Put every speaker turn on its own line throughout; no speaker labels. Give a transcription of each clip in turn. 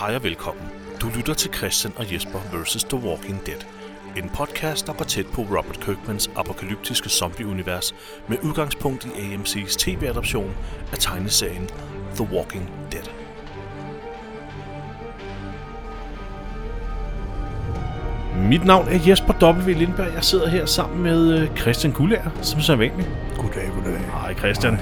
Hej og velkommen. Du lytter til Christian og Jesper vs. The Walking Dead. En podcast, der går tæt på Robert Kirkmans apokalyptiske zombieunivers med udgangspunkt i AMC's tv-adoption af tegneserien The Walking Dead. Mit navn er Jesper W. Lindberg. Jeg sidder her sammen med øh, Christian Gullager, som så vanligt.
Goddag, goddag.
Hej Christian.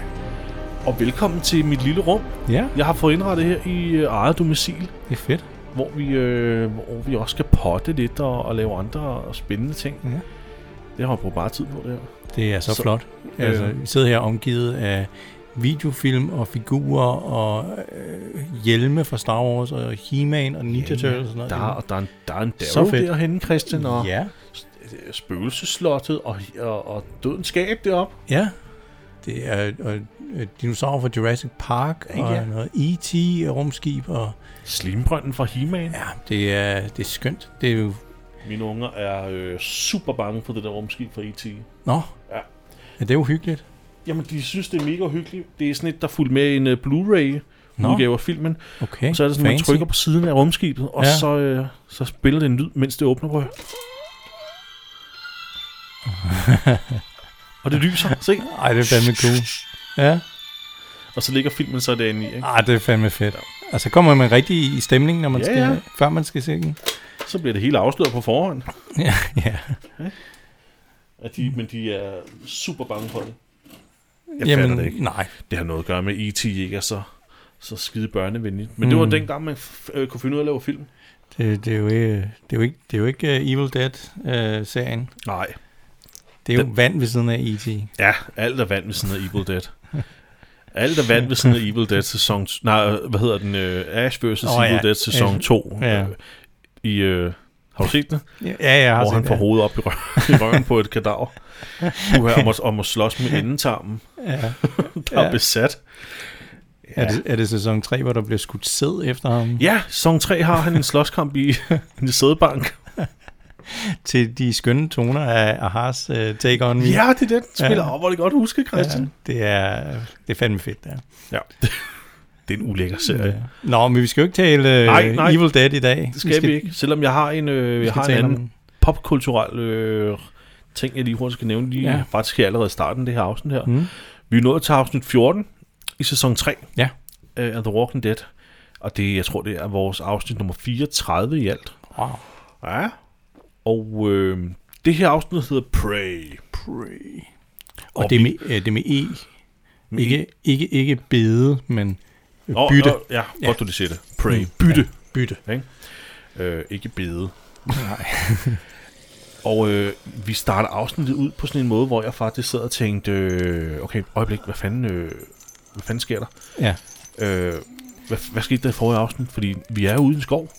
Og velkommen til mit lille rum.
Ja,
Jeg har fået indrettet her i øh, eget domicil.
det er fedt.
hvor vi, øh, hvor vi også skal potte lidt og, og lave andre spændende ting.
Ja.
Det har jeg brugt meget tid på, det her.
Det er så,
Så-
så flot. Altså,
Øh.
vi sidder her omgivet af videofilm og figurer og øh, hjelme fra Star Wars og He-Man og Ninja Turtles og sådan noget.
Der, er- og der er en, der er en
Så
Darrow
fedt.
derhenne, Christian, og ja.
Ja,
spøgelseslottet og, og, og dødens skab deroppe.
ja. Det er og, øh, dinosaurer fra Jurassic Park
Ja,
ja, og
ja.
noget E.T. rumskib og
Slimbrønden fra He-Man.
ja, det er, det er skønt. Det er jo...
Mine unger er øh, super bange for det der rumskib fra E.T.
Nå,
Ja.
ja, det er uhyggeligt.
Jamen, de synes, det er mega hyggeligt. Det er sådan et, der fulgte med en uh, Blu-ray
Nå.
udgave af filmen.
Okay,
Og så er det sådan, at man
fancy.
trykker på siden af rumskibet, og ja.
Ja.
så, øh, så spiller det en lyd, mens det åbner på. og det lyser, se.
Ej, det er fandme cool. Ja.
Og så ligger filmen så derinde i, ikke?
Ah, det er fandme fedt. Altså, kommer man rigtig i stemning, når man
Ja,
skal,
ja.
før man skal se den?
Så bliver det hele afsløret på forhånd.
ja, ja.
Ja, de, men de er super bange for det. Jeg Jamen, fatter
Jamen,
det ikke.
nej.
Det har noget at gøre med, at E.T. ikke er så, så skide børnevenligt. Men mm. det var dengang, man f- øh, kunne finde ud af at lave film.
Det, det, er jo, ikke- det, er jo ikke, det er jo ikke uh, Evil Dead-serien.
Nej.
det er jo
Den-
vand ved siden af E E.T.
Ja, alt er vand ved sådan noget Evil Dead. Alt er vand ved sådan noget Evil Dead sæson... Nej, øh, hvad hedder den? Uh, Ash vs.
Åh,
Oh, Evil
ja.
ja. Dead sæson
Ash-
2.
ja.
Øh, I, øh, har du set den?
Ja, ja, jeg har
Hvor han
set
får
det.
hovedet op i, rø- i røven på et kadaver. Du her og må, og må slås med endetarmen,
Ja.
der ja. er
Ja.
besat.
Er, det, er det sæson 3, hvor der bliver skudt sæd efter ham?
Ja, sæson 3 har han en slåskamp i en sædebank.
Til de skønne toner af Ahas uh, Take On Me.
Ja, det er den spiller.
Ja.
Ja. hvor er det godt huske, Christian.
det, er, det er fandme fedt, ja.
Ja. Det er en ulækker serie.
ja. Nå, men vi skal jo ikke tale uh,
Nej, nej.
Evil Dead i dag.
Det skal vi, ikke. Selvom jeg har en, øh,
Vi
jeg
skal
har en
tale
anden
om
popkulturel øh, ting, jeg lige hurtigt skal nævne, lige ja.
Ja.
faktisk her allerede i starten af det her afsnit her.
Mm.
Vi er nået til afsnit 14 i sæson 3
Ja.
øh, af The Walking Dead, og det, jeg tror, det er vores afsnit nummer 34 i alt.
Wow.
Ja. Og øh, det her afsnit hedder Prey.
Pray. Og,
Og
og det, er
vi- E.
med, øh, det er med E. Ikke, ikke, ikke bede, men øh,
Nå,
bytte.
Nå, ja,
Ja.
godt du lige siger det. Prey.
Mm,
Bytte.
bytte.
Ja. Øh, ikke bede.
Nej.
Og øh, vi starter afsnittet ud på sådan en måde, hvor jeg faktisk sad og tænkte, øh, okay, øjeblik, hvad fanden, øh, hvad fanden sker der?
Ja.
Øh, hvad, hvad skete der i forrige afsnit? Fordi vi er ude i en skov.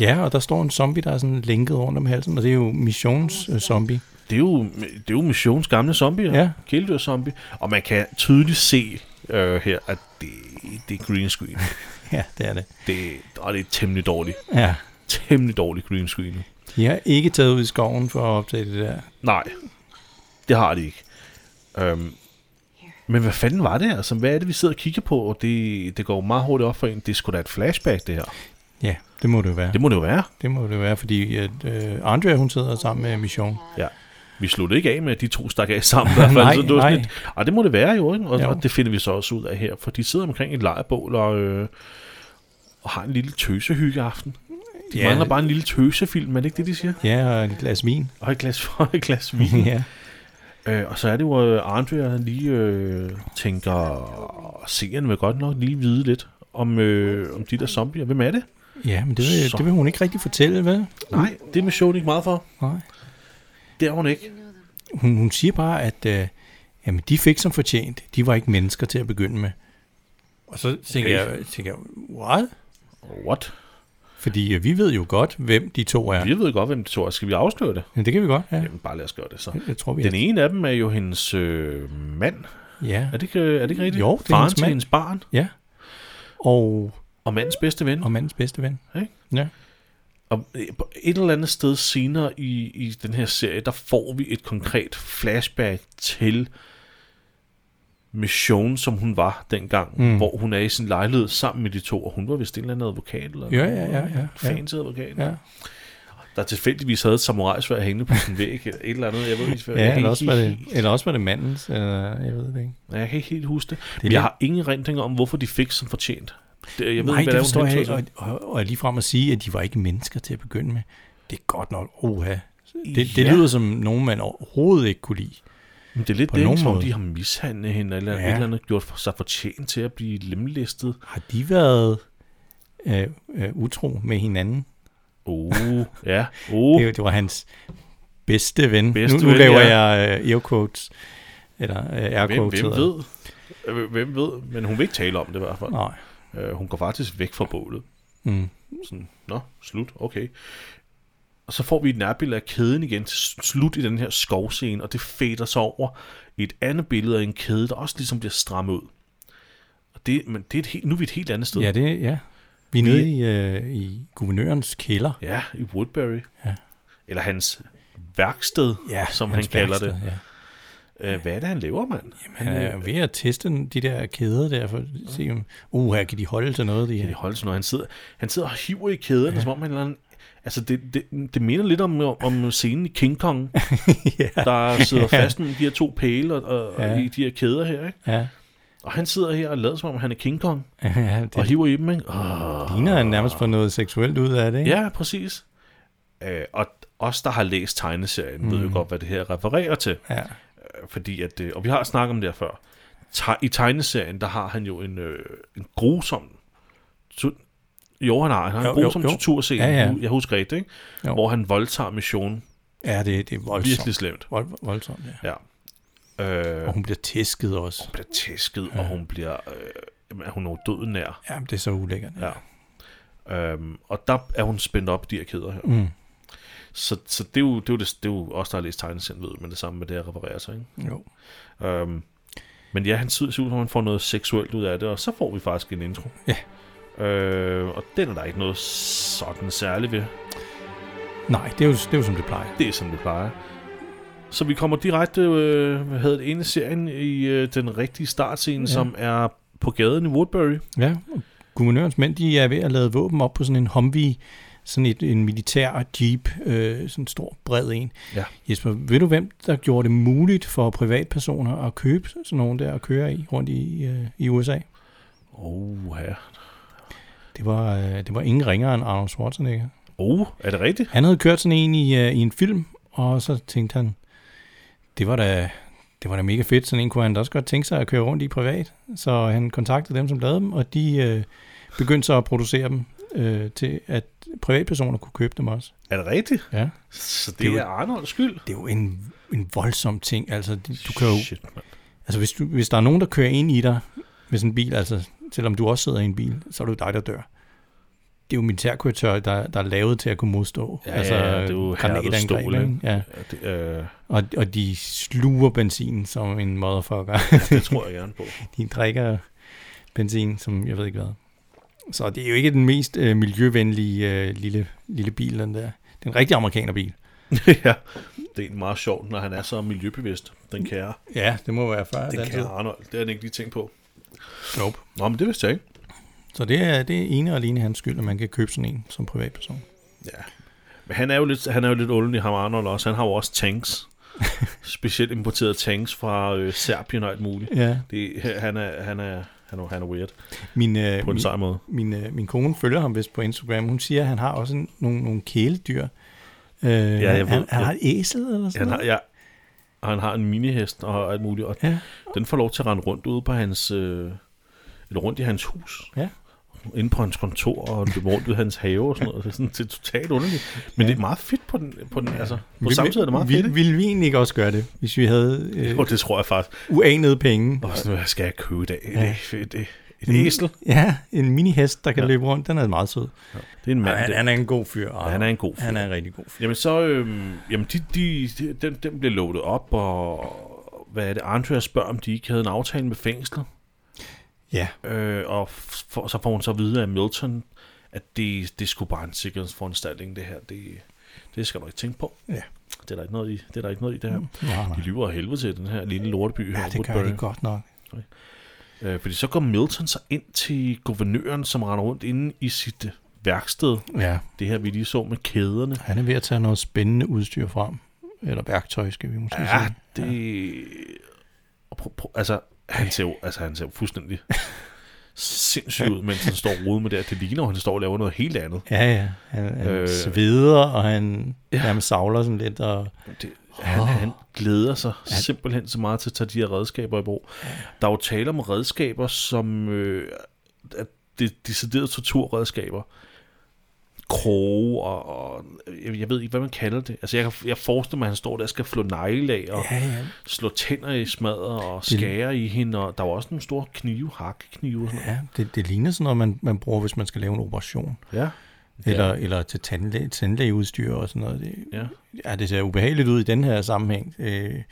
ja, og der står en zombie, der er sådan lænket rundt om halsen, og det er jo missions øh, zombie.
Det er jo, det er jo missions gamle zombier.
Ja.
Kæledyrszombie. Og man kan tydeligt se øh, her, at det, det er green screen.
Ja, det er det.
Det, og det er temmelig dårligt.
Ja.
Temmelig dårligt green screen.
De har ikke taget ud i skoven for at optage det der.
Nej, det har de ikke. Øhm, men hvad fanden var det her? Altså, hvad er det, vi sidder og kigger på? Og det, det går jo meget hurtigt op for en. Det er sgu da et flashback, det her.
Ja, det må det jo være.
Det
Det,
må det jo være.
det må det jo være, fordi at, øh, Andrea, hun sidder sammen med Mission.
Ja. Vi sluttede ikke af med, at de to stak af sammen. I hvert fald.
Nej,
så det var sådan
nej.
Et, og det må det være jo, ikke? Og,
Jo.
og det finder vi så også ud af her. For de sidder omkring et lejebål og, øh, og har en lille tøsehyggeaften. De
Ja.
mangler bare en lille tøsefilm, er det ikke det, de siger?
Ja, og et glas vin.
Og et glas, og et glas vin.
ja.
Øh, og så er det jo, at Andrea han lige øh, tænker, seeren vil godt nok lige vide lidt om, øh, om de der zombier. Hvem er det?
ja, men det vil,
Så.
det vil hun ikke rigtig fortælle, hvad?
Nej, det er missionen ikke meget for.
Nej.
Det er hun ikke.
Hun, hun siger bare, at øh, jamen, de fik som fortjent. De var ikke mennesker til at begynde med. Og så tænker,
Okay.
jeg, tænker jeg, what?
What?
Fordi øh, vi ved jo godt, hvem de to er.
Vi ved godt, hvem det tror. Skal vi afsløre det?
Men det kan vi godt, ja.
Jamen, bare lad os gøre det så.
Jeg tror, vi
Den
er.
ene af dem er jo hendes øh, mand.
Ja.
Er det ikke, øh, er det ikke rigtigt?
Jo, det er
Faren
hendes
til
mand.
hendes barn
ja. Og,
og mandens bedste ven.
og mandens bedste ven.
Ikke?
Ja.
Og øh, på et eller andet sted senere i, i den her serie, der får vi et konkret flashback til mission, som hun var dengang, mm.
Mm.
hvor hun er i sin lejlighed sammen med de to, og hun var vist en eller anden advokat, eller
Ja, ja, ja, ja, ja.
fancy advokat,
Ja,
der tilfældigvis havde et samurajsvær hængende på sin væg, eller et eller andet, jeg ved ikke, hvad- jeg
ja
kan
eller,
ikke
også var det, eller også var det mandens, eller jeg ved det ikke.
Ja, Jeg kan ikke helt huske det. Men
lidt-
jeg har ingen rendringer om, hvorfor de fik som fortjent. Det, jeg ved
Nej,
ikke, hvad
det
er, hun
forstår jeg
hentede
ikke. Og, og, og ligefrem at sige, at de var ikke mennesker til at begynde med, det er godt nok, oha. Det, det
Ja.
lyder som nogen, man overhovedet ikke kunne lide.
til. Men det er lidt
på
det, ikke,
nogen
som om
måde.
de har mishandlet hende, eller ja.
Ja.
et eller andet gjort for, sig fortjent til at blive lemlæstet.
Har de været øh, øh, utro med hinanden?
Oh, ja. Oh.
Det, det var hans bedste ven.
Bedste
nu, nu
ven,
laver
ja.
jeg øh, air quotes. Eller øh, air
Hvem,
quotes.
hvem
hedder det.
ved? Øh, Hvem ved? Men hun vil ikke tale om det i hvert fald.
Nej.
Øh, hun går faktisk væk fra bålet.
Mm.
Sådan, nå, slut, okay. Og så får vi et nærbild af kæden igen til s- slut i den her skovscene, og det fader så over i et andet billede af en kæde, der også ligesom bliver strammet ud. Og det, men det er et helt, nu er vi et helt andet sted.
Ja, det ja. Vi er nede i, øh, i guvernørens kælder.
Ja, i Woodbury.
Ja.
Eller hans værksted, ja, som han kalder værksted. det.
Ja.
Øh, hvad er det, han øh, laver, mand? Jamen,
Han er ved at teste den- de der kæder der, for at se, om, uh, her kan de holde til noget, de
Kan de
her.
holde sådan noget? Han sidder, han sidder og hiver i kæderne, ja. som om han er en eller anden... Altså, det, det, det minder lidt om, om scenen i King Kong,
ja.
der sidder fast med de her to pæle og, og, ja.
Ja.
i de her kæder her, ikke?
ja.
Og han sidder her og lader som om, han er King Kong,
ja, det
og hiver i dem, ikke? Oh.
ligner han nærmest på noget seksuelt ud af det, ikke?
Ja, præcis. Øh, og os, der har læst tegneserien, mm. ved jo godt, hvad det her refererer til.
Ja.
Øh, fordi at, øh, og vi har snakket om det her før. Te- I tegneserien, der har han jo en, øh, en grusom... Tu- jo, han har. Han har
Jo,
en
jo,
grusom
jo.
torturscene,
Ja, ja.
nu- jeg husker rigtigt, ikke?
Jo.
Hvor han voldtager missionen
ja, det, det er voldsomt.
virkelig slemt.
Vold, voldsomt, ja.
Ja. Øh,
Og
hun
hun bliver tæsket også.
bliver tæsket, ja. og hun bliver... Øh, jamen, hun er jo døden nær.
Jamen, det er så ulækkert.
Ja. Øhm, og der er hun spændt op i de her kæder her.
Mm.
Så, så det, er jo, det, er jo det, det er jo os, der har læst tegneserien, ved men det samme med det her reparerer sig, ikke?
Jo.
Øhm, men ja, han ser ud som om, han får noget seksuelt ud af det, og så får vi faktisk en intro.
Ja.
Øh, og den er der ikke noget sådan særligt ved.
Nej, det er, jo, det er jo som det plejer.
Det er som det plejer. Så vi kommer direkte, øh, hvad hedder det, ind i serien i øh, den rigtige startscene, ja. som er på gaden i Woodbury.
Ja, og guvernørens mænd, de er ved at lade våben op på sådan en Humvee, sådan et, en militær jeep, øh, sådan en stor bred en.
Ja.
Jesper, ved du hvem, der gjorde det muligt for privatpersoner at købe sådan nogen der at køre i rundt i, øh, i USA?
Oh, ja.
Det var, øh, det var ingen ringere end Arnold Schwarzenegger.
Oh, er det rigtigt?
Han havde kørt sådan en i, øh, i en film, og så tænkte han, det var da det var da mega fedt, sådan en kunne han da også godt tænke sig at køre rundt i privat. Så han kontaktede dem, som lavede dem, og de øh, begyndte så at producere dem øh, til, at privatpersoner kunne købe dem også.
Er det rigtigt?
Ja.
Så det,
Det er
det
jo-
er Arnolds skyld.
Det er jo en, en voldsom ting. Altså, det- du kan jo,
Shit, mand.
altså hvis, du, hvis der er nogen, der kører ind i dig med sådan en bil, altså selvom du også sidder i en bil, så er det jo dig, der dør. Det er jo militærkøretøjer, der, der er lavet til at kunne modstå.
Ja, ja, det er jo
granatangreb,
hærdet stål,
ikke? Ja.
Ja, det, øh,
Og, og de sluger benzin som en motherfucker.
det tror jeg gerne på.
De drikker benzin som jeg ved ikke hvad. Så det er jo ikke den mest øh, miljøvenlige øh, lille, lille bil, den der. Det er en rigtig amerikanerbil.
ja, det er en meget sjovt, når han er så miljøbevidst, den kære.
Ja, det må være før.
Den kære Arnold, det har han ikke lige tænkt på.
Nope.
Nå, men det vidste jeg ikke.
Så det er, det er ene og alene hans skyld, at man kan købe sådan en som privatperson.
Ja. Men han er jo lidt, han er jo lidt underlig, ham Arnold også. Han har jo også tanks. Specielt importeret tanks fra øh, Serbien og alt muligt.
Ja,
Det, han, er, han, er, han, er, han er weird
min, øh,
på en
min,
sej måde.
min, øh, min kone følger ham vist på Instagram. Hun siger, at han har også en, nogle, nogle kæledyr. Øh, ja,
jeg ved-
han, han har et æsel eller sådan
Han har,
noget.
ja, og han har en minihest og alt muligt. Og
Ja,
den får lov til at rende rundt ude på hans... Øh, eller rundt i hans hus.
ja.
inde på hans kontor og løbe rundt ved hans have og sådan noget. Det er, sådan, det er totalt underligt. Men ja. det er meget fedt på den, på den altså, på
Vil-
samme tid er det meget
vil,
fedt. Ikke?
Ville vi egentlig ikke også gøre det, hvis vi havde øh,
Jo, det tror jeg faktisk.
uanede penge?
Og sådan, hvad skal jeg købe i dag?
Ja. Mm.
Et, et, et, et æsel?
Ja, en minihest, der kan
Ja.
ja. løbe rundt, den er meget sød.
Det er en mand.
Han,
det.
han er en god fyr. Arne.
Han er en god fyr.
Han er en rigtig god fyr.
Jamen så, øhm, jamen de, de, de, den, den bliver lovet op, og hvad er det, Andrea spørger, om de ikke havde en aftale med fængslet.
Ja,
Øh, og f- for, så får hun så at vide af Milton, at det, det skulle bare en sikkerhedsforanstaltning, det her. Det, det skal du ikke tænke på.
Ja.
Det er der ikke noget i, det, er der ikke noget i det her.
nej,
De
nej.
lyver af helvede til den her lille lorteby her.
Mm. ja det gør
Woodbury.
de godt nok.
Ikke? Øh, fordi så går Milton så ind til guvernøren, som render rundt inde i sit øh, værksted.
Ja,
Det her, vi lige så med kæderne.
han er ved at tage noget spændende udstyr frem. Eller værktøj, skal vi måske
Ja,
sige.
det... Og prøv, prøv, altså, han ser jo, altså, han ser jo fuldstændig sindssygt ud, mens han står rodet med det. her. Det ligner, jo, han står og laver noget helt andet.
Ja, ja. Han, han
Øh.
øh, sveder, og han
Ja.
ja. nærmest savler sådan lidt. Og,
Det, han, oh. han glæder sig ja. simpelthen så meget til at tage de her redskaber i brug. Der er jo tale om redskaber, som øh, er de- deciderede torturredskaber. Kroge og, og jeg, jeg ved ikke, hvad man kalder det. Altså, jeg, kan- jeg forestiller mig, at han står der og skal flå negle af og ja.
ja.
slå tænder i smadret og skære i hende. Og der var også nogle store knive, hakkeknive. og sådan
ja det, det ligner sådan noget, man, man bruger, hvis man skal lave en operation.
noget. Ja.
Eller, ja. eller til tandlæge, tandlægeudstyr og sådan noget. Det,
ja.
ja, det ser ubehageligt ud i den her sammenhæng. Øh,
Det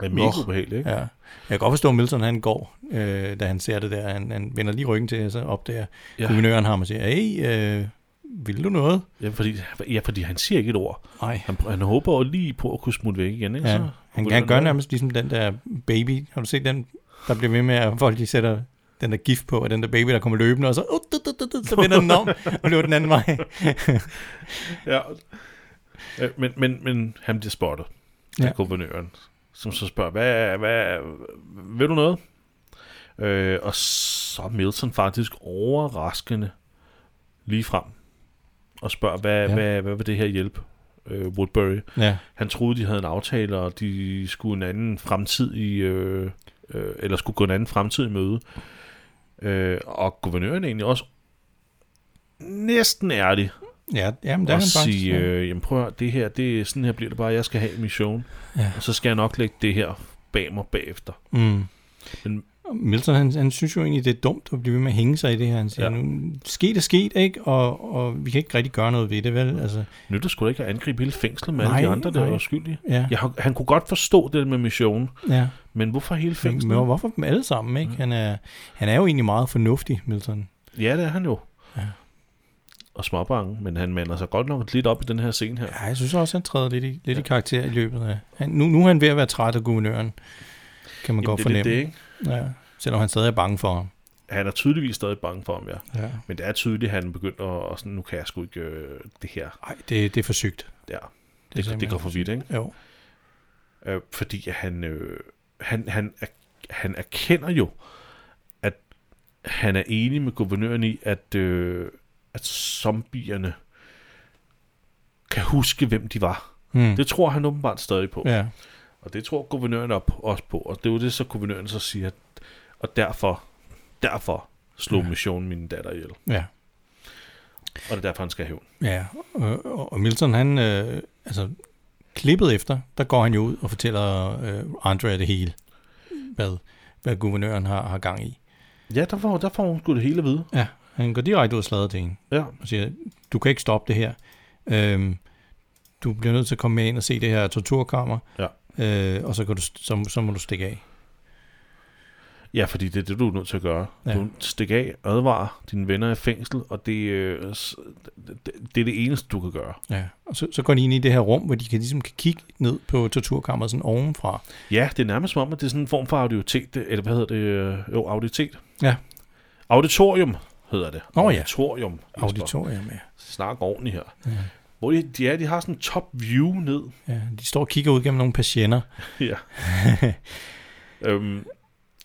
er mega
Nå.
ubehageligt, ikke?
ja. Jeg kan godt forstå, at Milton han går, øh, da han ser det der. Han, han vender lige ryggen til, og så opdager
Ja.
ja. guvernøren ham og siger, hey, øh, vil du noget?
Ja, fordi, ja, fordi han siger ikke et ord.
Nej.
Han, han håber jo lige på at kunne smutte væk igen, ikke?
Ja,
Så,
han,
vil
han gør
noget.
nærmest ligesom den der baby. Har du set den, der bliver ved med, at folk de sætter den der gift på, og den der baby, der kommer løbende, og så, uh, du, du, du, du, så vender den om, og løber den anden vej.
ja. Øh, Men, men, men han bliver spottet ja.
Ja.
af guvernøren, som så spørger, hvad, hvad, vil du noget? Øh, og så er Milton faktisk overraskende lige frem og spørger, hvad, ja.
Ja.
hvad, hvad vil det her hjælpe? Øh, Woodbury.
Ja,
Han troede, de havde en aftale, og de skulle en anden fremtid i, øh, øh, eller skulle gå en anden fremtid i møde. Øh, og guvernøren er egentlig også næsten ærlig
ja jamen, der
der
er
og
han faktisk.
sige,
ja.
øh, jamen prøv at høre, det her, det, sådan her bliver det bare, jeg skal have min show,
Ja.
og så skal jeg nok lægge det her bag mig bagefter.
Mm.
Men-
Men, Milton, han, han synes jo egentlig, det er dumt at blive ved med at hænge sig i det her. Han siger,
Ja.
ja. nu, sket er sket, ikke? Og, og vi kan ikke rigtig gøre noget ved det, vel? Altså,
Nytter skulle ikke at angribe hele fængslet med nej, alle
Nej,
de andre, der
nej.
var skyldige.
ja.
Jeg, har- han kunne godt forstå det med missionen,
ja.
men hvorfor hele
Men,
fængslet?
men hvorfor dem alle sammen,
Mm.
ikke? Han er, han er jo egentlig meget fornuftig, Milton.
Ja, det er han jo.
Ja.
Og småbange, men han mander sig godt nok lidt op i den her scene her.
Ja, jeg synes også, han træder lidt i, lidt ja. i karakter i løbet af... Han, nu, nu er han ved at være træt af guvernøren, kan
Jamen,
man godt
det, er lidt
fornemme.
det, ikke?
Ja, selvom han stadig er bange for ham.
Han er tydeligvis stadig bange for ham, ja.
Ja.
Men det er tydeligt, at han begynder at, og sådan, nu kan jeg sgu ikke øh, det her.
Ej, det, det er forsøgt.
Ja,
er
det, det, det
simpelthen
går for vidt, ikke?
Jo.
øh, fordi at han, øh, han, han, er, han erkender jo, at han er enig med guvernøren i, at, øh, at zombierne kan huske, hvem de var.
Mm.
Det tror han åbenbart stadig på, ja.
Ja.
og det tror guvernøren op, også på, og det er jo det, så guvernøren så siger, at, og derfor, derfor slog ja.
Ja.
missionen min datter ihjel, og
ja.
det er derfor, han skal have hævn.
Ja, og, og- og Milton, han, øh, altså, klippet efter, der går han jo ud og fortæller øh, Andrea det hele, hvad, hvad guvernøren har, har gang i.
Ja, der får, der får hun sgu det hele at vide.
Ja, han går direkte ud og slader til hende
Ja,
og siger, du kan ikke stoppe det her. Øhm, du bliver nødt til at komme med ind og se det her torturkammer,
Ja.
øh, og så, kan du, så, så må du stikke af.
Ja, fordi det er det, du er nødt til at gøre. Ja.
Ja.
Du stikker af, advarer dine venner i fængsel, og det, øh, s- det, det er det eneste, du kan gøre.
Ja. Og så, så går de ind i det her rum, hvor de kan, ligesom kan kigge ned på torturkammeret sådan ovenfra.
Ja, det er nærmest som om, at det er sådan en form for auditet, eller hvad hedder det? øh, Jo, auditet.
Ja.
Auditorium hedder det.
Nå ja.
Auditorium. Jesper.
Auditorium, ja.
Snak ordentligt her. Ja. Hvor de, de, er, de har sådan en top view ned.
ja. De står og kigger ud gennem nogle patienter.
ja. øhm,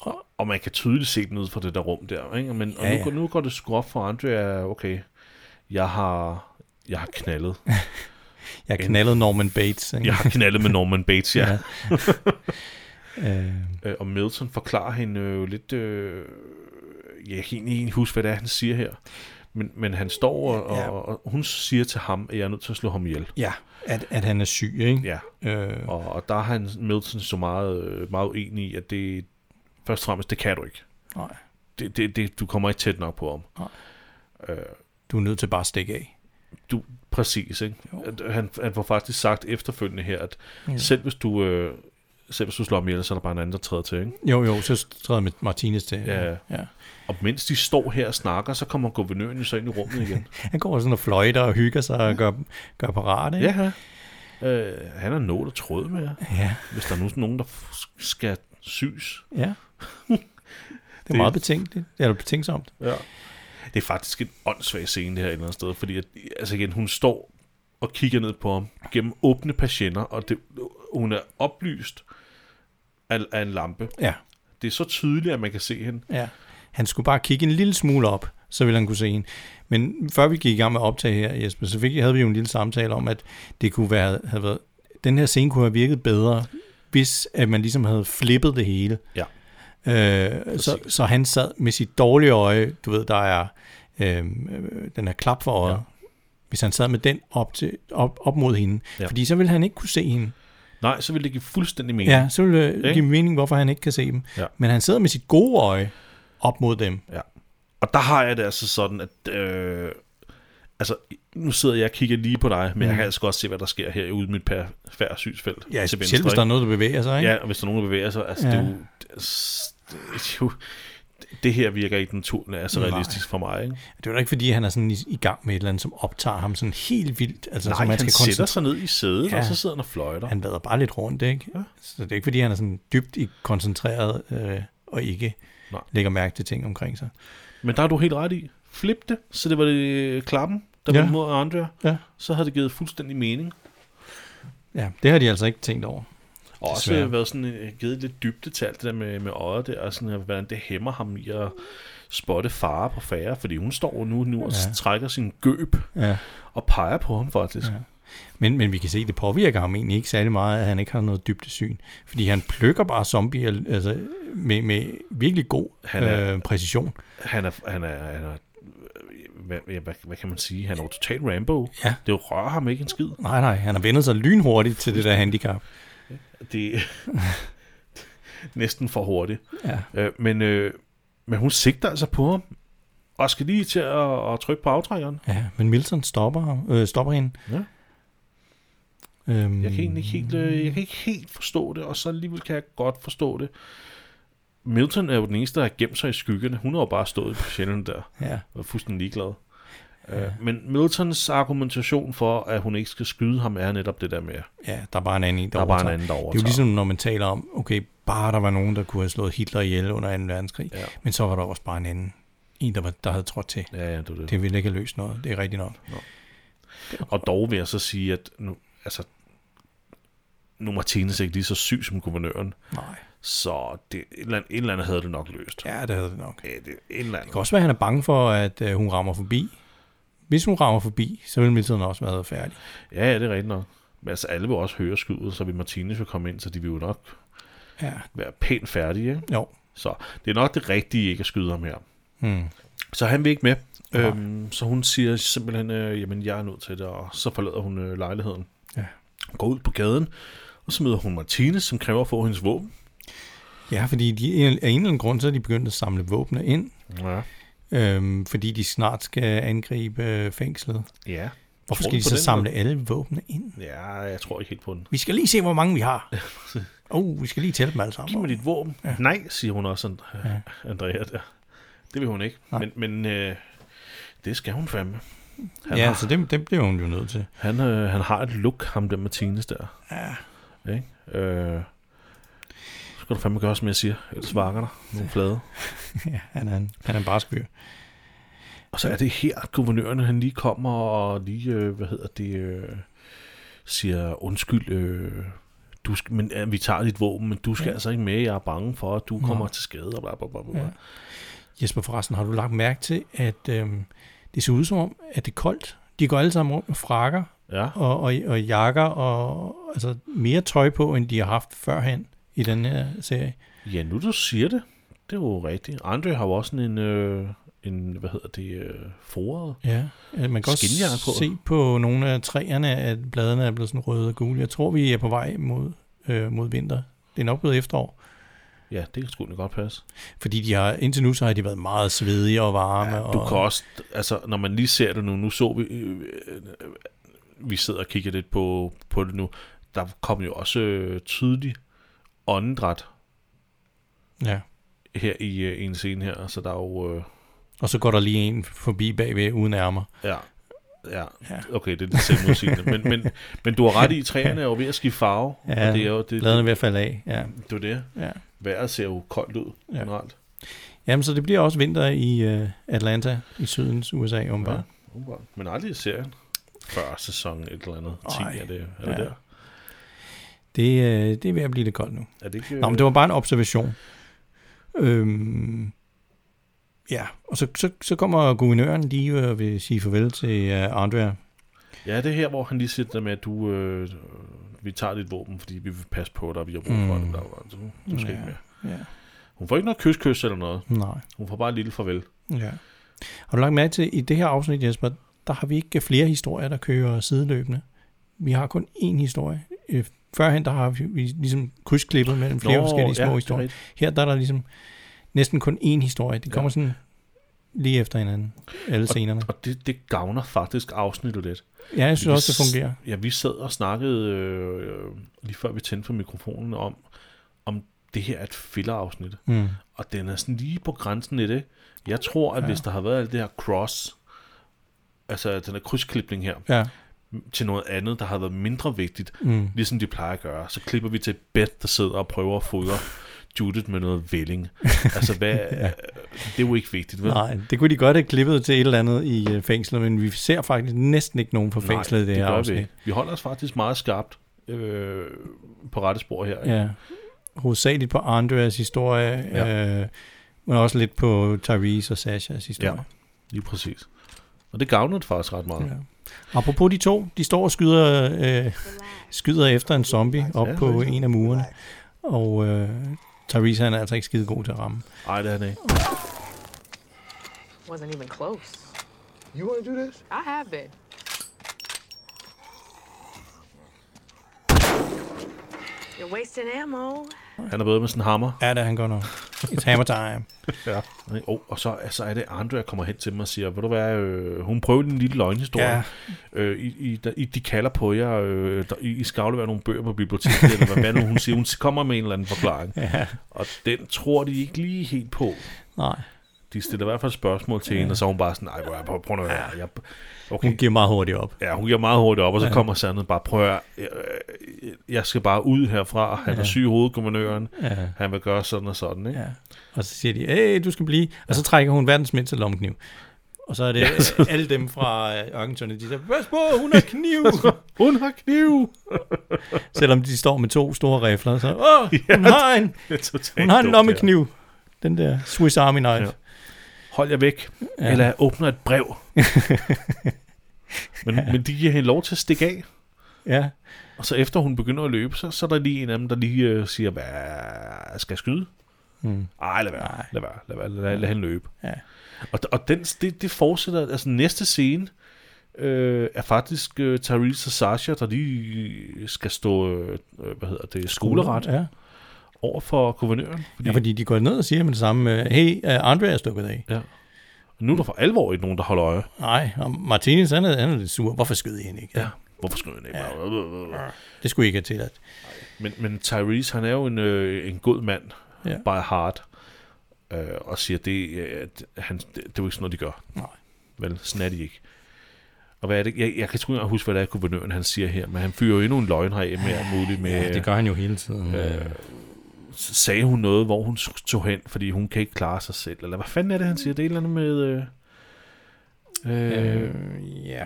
og, og man kan tydeligt se den ud fra det der rum der. Ikke? Men, og
Ja,
nu,
ja.
går- nu går det sgu op for Andrea, okay, jeg har, jeg har knaldet.
Jeg knaldede Norman Bates. Ikke?
Jeg har knaldet med Norman Bates, ja. ja.
øh,
Øh, og Milton forklarer hende jo lidt... Øh, ja, jeg kan egentlig ikke huske, hvad det er, han siger her. Men, men han står, og,
Ja.
og, og hun siger til ham, at jeg er nødt til at slå ham ihjel.
ja, at, at han er syg, ikke?
Ja,
Ja. Øh,
og, og der er han, Milton så meget, øh, meget uenig i, at det først og fremmest, det kan du ikke.
nej,
Det, det, det, du kommer ikke tæt nok på ham.
Nej.
Øh,
du er nødt til bare at stikke af.
du, præcis, ikke?
Jo.
At, han, han får faktisk sagt efterfølgende her, at
Ja.
selv hvis du... Øh, selv hvis du slår ham ihjel, så er der bare en anden, der træder til, ikke?
Jo, jo, så træder med Martinez til.
Ja.
ja.
Og mens de står her og snakker, så kommer guvernøren jo så ind i rummet igen.
Han går sådan og fløjter og hygger sig og gør, gør parat, ikke?
Ja, ja. Øh, han har nået og tråd med jer.
Ja.
Hvis der er nu sådan nogen, der f- skal syes.
ja. Det er meget betænkt, eller betænksomt.
Ja. Det er faktisk en åndssvag scene, det her et eller andet sted, fordi at, altså igen, hun står og kigger ned på ham gennem åbne patienter, og det, hun er oplyst af, af en lampe.
Ja,
Det er så tydeligt, at man kan se hende.
ja. Han skulle bare kigge en lille smule op, så ville han kunne se en. Men før vi gik i gang med at optage her, Jesper, så fik, havde vi jo en lille samtale om, at det kunne være, havde været, den her scene kunne have virket bedre, hvis at man ligesom havde flippet det hele.
Ja.
Øh, så, så han sad med sit dårlige øje, du ved, der er øh, den her klap for øjet.
Ja.
Ja. Hvis han sad med den op, til, op, op mod hende,
Ja.
ja. fordi så ville han ikke kunne se hende.
Nej, så ville det give fuldstændig mening.
Ja, så ville det
Ikke?
give mening, hvorfor han ikke kan se dem.
Ja.
Men han sidder med sit gode øje op mod dem.
Ja. Og der har jeg det altså sådan, at... Øh, altså, nu sidder jeg og kigger lige på dig, men mm. jeg kan altså godt se, hvad der sker her ude i mit perfære synsfelt
Ja,
til
til
venstre.
Altså, selv hvis der er noget, der bevæger sig. Ikke?
Ja, og hvis der er nogen, der bevæger sig, altså ja.
Ja.
det, er jo, det er- det er jo, det her virker ikke naturligt, altså
Nej. Altså,
realistisk for mig. Ikke?
Det er jo da ikke, fordi han er sådan i, i gang med et eller andet, som optager ham sådan helt vildt. Altså,
Nej,
som man
han
skal
sætter
koncentrere.
sig ned i sædet, ja.
Ja.
og så sidder han og fløjter.
Han vader bare lidt rundt, ikke?
Ja.
Ja. Så det er ikke, fordi han er sådan dybt i koncentreret øh, og ikke
Nej.
Nej. lægger mærke til ting omkring sig.
Men der har du helt ret i. Flip det, så det var det klappen, der ja.
Ja.
var mod Andrea.
Ja.
Så havde det givet fuldstændig mening.
ja, det har de altså ikke tænkt over.
Og også
Desværre.
Desværre. været sådan, øh, givet lidt dybde til alt det der med, med øjet der, og sådan, øh, hvordan det hæmmer ham i at spotte fare på færre, fordi hun står nu, nu og
Ja.
trækker sin gøb
Ja.
og peger på ham faktisk. Ja.
Ja. Men, men vi kan se, at det påvirker ham egentlig ikke særlig meget, at han ikke har noget dybdesyn. Fordi han plukker bare zombier altså, med, med virkelig god
Han er-
øh, præcision.
Han er, han er, han er øh, hvad, ja, hvad, hvad, kan man sige? Han er jo total Rambo.
Ja.
Det rører ham ikke en skid.
Nej, nej, han har vendet sig lynhurtigt til det der handicap.
Det er næsten for hurtigt.
Ja.
Øh, men, øh, men hun sigter altså på ham, og skal lige til at, at trykke på aftrækkeren.
ja men Milton stopper, ham- øh, stopper hende.
Ja.
Øhm,
Jeg kan egentlig ikke helt, øh, jeg kan ikke helt forstå det, og så alligevel kan jeg godt forstå det. Milton er jo den eneste, der har gemt sig i skyggerne. Hun har jo bare stået på sjælen der
Ja,
og er fuldstændig ligeglad. Ja. Men Miltons argumentation for, at hun ikke skal skyde ham, er netop det der med, at
ja, der er bare en anden, en,
der
der,
er bare en
overtager.
anden, der overtager.
Det er jo ligesom, når man taler om, okay, bare der var nogen, der kunne have slået Hitler ihjel under 2. verdenskrig,
Ja.
men så var der også bare en anden, en, der, var, der havde trådt til.
Ja, ja, det er det.
Det ville ikke have løst noget, det er rigtigt nok.
Og dog vil jeg så sige, at nu, altså, nu er Martinez ikke lige så syg som guvernøren,
Nej,
så det, et, eller andet, et eller andet havde det nok løst.
ja, det havde det nok.
Ja, det, et eller
Det
andet.
kan også være, at han er bange for, at øh, hun rammer forbi. Hvis hun rammer forbi, så vil Milton også være færdig.
Ja, ja, det er rigtigt nok. Men altså, alle vil også høre skuddet, så vil Martinez jo komme ind, så de vil jo nok
Ja,
være pænt færdige. Ikke?
jo.
Så det er nok det rigtige ikke at skyde ham her.
Hmm.
Så han vil ikke med.
Nej.
Øhm, så hun siger simpelthen, øh, jamen jeg er nødt til det, og så forlader hun øh, lejligheden.
Ja.
Går ud på gaden, og så møder hun Martinez, som kræver at få hendes våben.
Ja, fordi de, af en eller anden grund, så er de begyndt at samle våbne ind,
Ja.
øhm, fordi de snart skal angribe øh, fængslet.
ja.
Hvorfor
Tror
skal
du
de
på
så
den,
samle alle våbnene ind?
Ja, jeg tror ikke helt på den.
Vi skal lige se, hvor mange vi har. Oh, vi skal lige tælle dem alle sammen.
Giv mig dit våben. Ja. Nej, siger hun også, And-
Ja.
Andrea der. Det vil hun ikke.
Nej.
Men, men øh, det skal hun fandme. Han,
Ja,
har,
så det, det bliver hun jo nødt til.
han, øh, han har et look, ham der Martinez der. Ja. Ikke? Øh, så skal du fandme gøre, som jeg siger. Ellers vakker dig nogle flade.
ja, han er en, han er en barsk fyr.
Og så er det her, at guvernøren han lige kommer og lige, øh, hvad hedder det, øh, siger, undskyld, øh, du skal, men, ja, vi tager dit våben, men du skal ja. altså ikke med, jeg er bange for, at du kommer til skade. Og bla, bla, bla, bla. Ja.
Ja. Jesper, forresten, har du lagt mærke til, at øhm, det ser ud som om, at det er koldt? De går alle sammen rundt med frakker
ja.
og, og, og jakker og altså, mere tøj på, end de har haft førhen i den her serie.
Ja, nu du siger det. Det er jo rigtigt. Andre har jo også sådan en, øh, en hvad hedder det, øh, foret.
Ja, øh, man kan
Skinjakker
også
på.
se på nogle af træerne, at bladene er blevet sådan røde og gule. Jeg tror, vi er på vej mod, øh, mod vinter. Det er nok blevet efterår.
Ja, det kan sgu da godt passe.
Fordi de har, indtil nu så har de været meget svedige og varme.
Ja,
og,
du kan også, altså når man lige ser det nu, nu så vi, øh, øh, øh, vi sidder og kigger lidt på, på det nu, der kom jo også øh, tydelig åndedræt
Ja.
her i øh, en scene her, så der er jo, øh,
Og så går der lige en forbi bagved uden ærmer.
ja, ja,
Ja.
okay, det er lidt selvmodsigende, men, men, men du har ret i, træerne er jo ved at skifte farve,
Ja,
og det er jo det,
Bladene er
det,
ved at falde af. Ja,
det, er jo det.
ja.
Vejret ser jo koldt ud,
Ja.
generelt.
Jamen, så det bliver også vinter i øh, Atlanta i sydens USA, om ja.
Umiddelbart. Men aldrig i serien. Før sæson et eller andet. 10
Ej,
er det, er det
ja.
der.
det, øh, det er ved at blive lidt koldt nu.
Er det ikke...
Nå, men det var bare en observation. Øhm, ja, og så, så, så kommer guvernøren lige og vil sige farvel til uh, Andrea.
Ja, det er her, hvor han lige siger det der med, at du, øh, vi tager dit våben, fordi vi vil passe på dig, og vi har brug for
Mm.
mm. dig. og Du, du skal
Ja.
ikke mere.
Ja.
Hun får ikke noget kys-kys eller noget.
Nej.
Hun får bare et lille farvel.
Ja. Har du lagt mærke til, i det her afsnit, Jesper, der har vi ikke flere historier, der kører sideløbende. Vi har kun én historie. Øh, Førhen, der har vi vi ligesom krydsklippet mellem flere Nå, forskellige små
det
ja,
er
historier.
rigtigt.
Her der er der ligesom næsten kun én historie. Det
Ja.
kommer ja. sådan lige efter hinanden. Alle scenerne.
Og det, det gavner faktisk afsnittet lidt.
Ja, jeg synes
vi
også, det
s-
fungerer.
Ja, vi sad og snakkede, øh, lige før vi tændte for mikrofonen, om, om det her er et filler-afsnit.
Mm.
Og den er sådan lige på grænsen i det. Jeg tror, at ja. hvis der har været alt det her cross, altså den her krydsklipning her,
Ja.
til noget andet, der har været mindre vigtigt,
Mm.
ligesom de plejer at gøre. Så klipper vi til Beth, der sidder og prøver at fodre Judith med noget vælling. Altså, hvad, ja. det er jo ikke vigtigt, vel?
Nej, det kunne de godt have klippet til et eller andet i øh, fængslet, men vi ser faktisk næsten ikke nogen fra fængslet i det,
det
her
gør
afsnit.
vi ikke. Vi holder os faktisk meget skarpt øh, på rette spor her. ikke?
Ja, hovedsageligt på Andreas historie, ja. øh, men også lidt på Tyrese og Sashas historie.
Lige præcis. Og det gavner det faktisk ret meget.
Ja. Apropos de to, de står og skyder, øh, skyder efter en zombie op
Ja,
på
rigtig.
en af murene, og øh, Tyrese han er altså ikke skide god til at ramme.
Ej, det er det ikke.
Wasn't even close.
You want to do this?
I have been. You're wasting ammo.
Han er bedre med sådan en hammer.
Ja, det er han godt nok. It's hammer time.
Ja. Oh, og så, så er det andre, der kommer hen til mig og siger, ved du hvad, øh, hun prøver den lille løgnhistorie.
Ja.
Øh, I, I, der, I, de kalder på jer, øh, der, I, I skal aflevere nogle bøger på biblioteket, eller hvad nu hun siger. Hun kommer med en eller anden forklaring.
Ja.
Og den tror de ikke lige helt på.
Nej,
De stiller i hvert fald spørgsmål til hende, og så er hun bare sådan, nej, prøv, prøv nu at høre. Jeg, okay,
hun giver meget hurtigt op.
Ja, hun giver meget hurtigt op, og så ja. kommer sandet bare, prøv at, høre, jeg, øh, jeg skal bare ud herfra, han ja. er syg i hovedet, guvernøren,
Ja.
han vil gøre sådan og sådan, ikke?
Ja. Og så siger de, hey, du skal blive. Og så trækker hun verdens mindste lommekniv. Og så er det
Ja,
ja, alle dem fra øh, Ørkentønde, de siger, pas på, hun har kniv.
Hun har kniv!
Selvom de står med to store rifler, så, åh, hun har en, hun har en lommekniv. Den der Swiss Army knife.
Ja. Hold jer væk,
Ja.
ja. eller jeg åbner et brev. men, ja. men de giver hende lov til at stikke af,
Ja.
og så efter hun begynder at løbe, så, så er der lige en af dem, der lige øh, siger, hvad skal jeg skyde?
Mm.
Ej, lad være,
Nej.
lad være, lad, være, lad, lad, lad hende løbe.
Ja.
Og, og den, det, det fortsætter, altså næste scene øh, er faktisk øh, Therese og Sasha, der lige skal stå, øh, hvad hedder det, skoleret
Ja.
over for guvernøren. Fordi,
ja, fordi de går ned og siger med det samme, øh, hey, øh, Andre er stukket af.
ja. Nu er der for alvor ikke nogen, der holder øje.
Nej, og Martinez, han er, han er lidt sur. Hvorfor skød I hende ikke?
Hvorfor skulle han ikke? Ja.
Det skulle I ikke have tilladt.
Men, men Tyrese, han er jo en, øh, en god mand,
Ja.
by heart, øh, og siger, det, øh, at han, det, det er jo ikke sådan noget, de gør.
Nej.
Vel, sådan er de ikke. Og hvad er det? Jeg, jeg kan sgu ikke engang huske, hvad det er, guvernøren han siger her, men han fyrer jo endnu en løgn her med alt muligt. Med,
Ja, det gør han jo hele tiden. Øh,
Sagde hun noget, hvor hun s- tog hen, fordi hun kan ikke klare sig selv? Eller hvad fanden er det, han siger? Det er et eller andet med... Øh, øh, øh.
Øh, ja.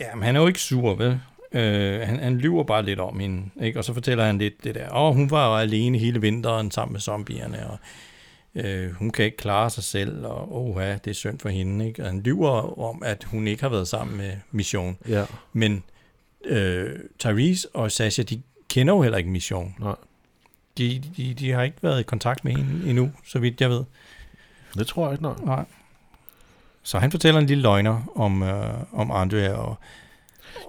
Ja, men han er jo ikke sur, vel? Øh, han, han lyver bare lidt om hende, ikke? Og så fortæller han lidt det der. Åh, hun var jo alene hele vinteren sammen med zombierne, og øh, hun kan ikke klare sig selv, og åh, ja, det er synd for hende, ikke? Og han lyver om, at hun ikke har været sammen med Mission.
Ja,
Men øh, Tyrese og Sasha, de kender jo heller ikke Mission.
nej.
De, de, de har ikke været i kontakt med hende endnu, så vidt jeg ved.
Det tror jeg ikke, nej.
Nej. Så han fortæller en lille løgner om, øh, om Andrea, og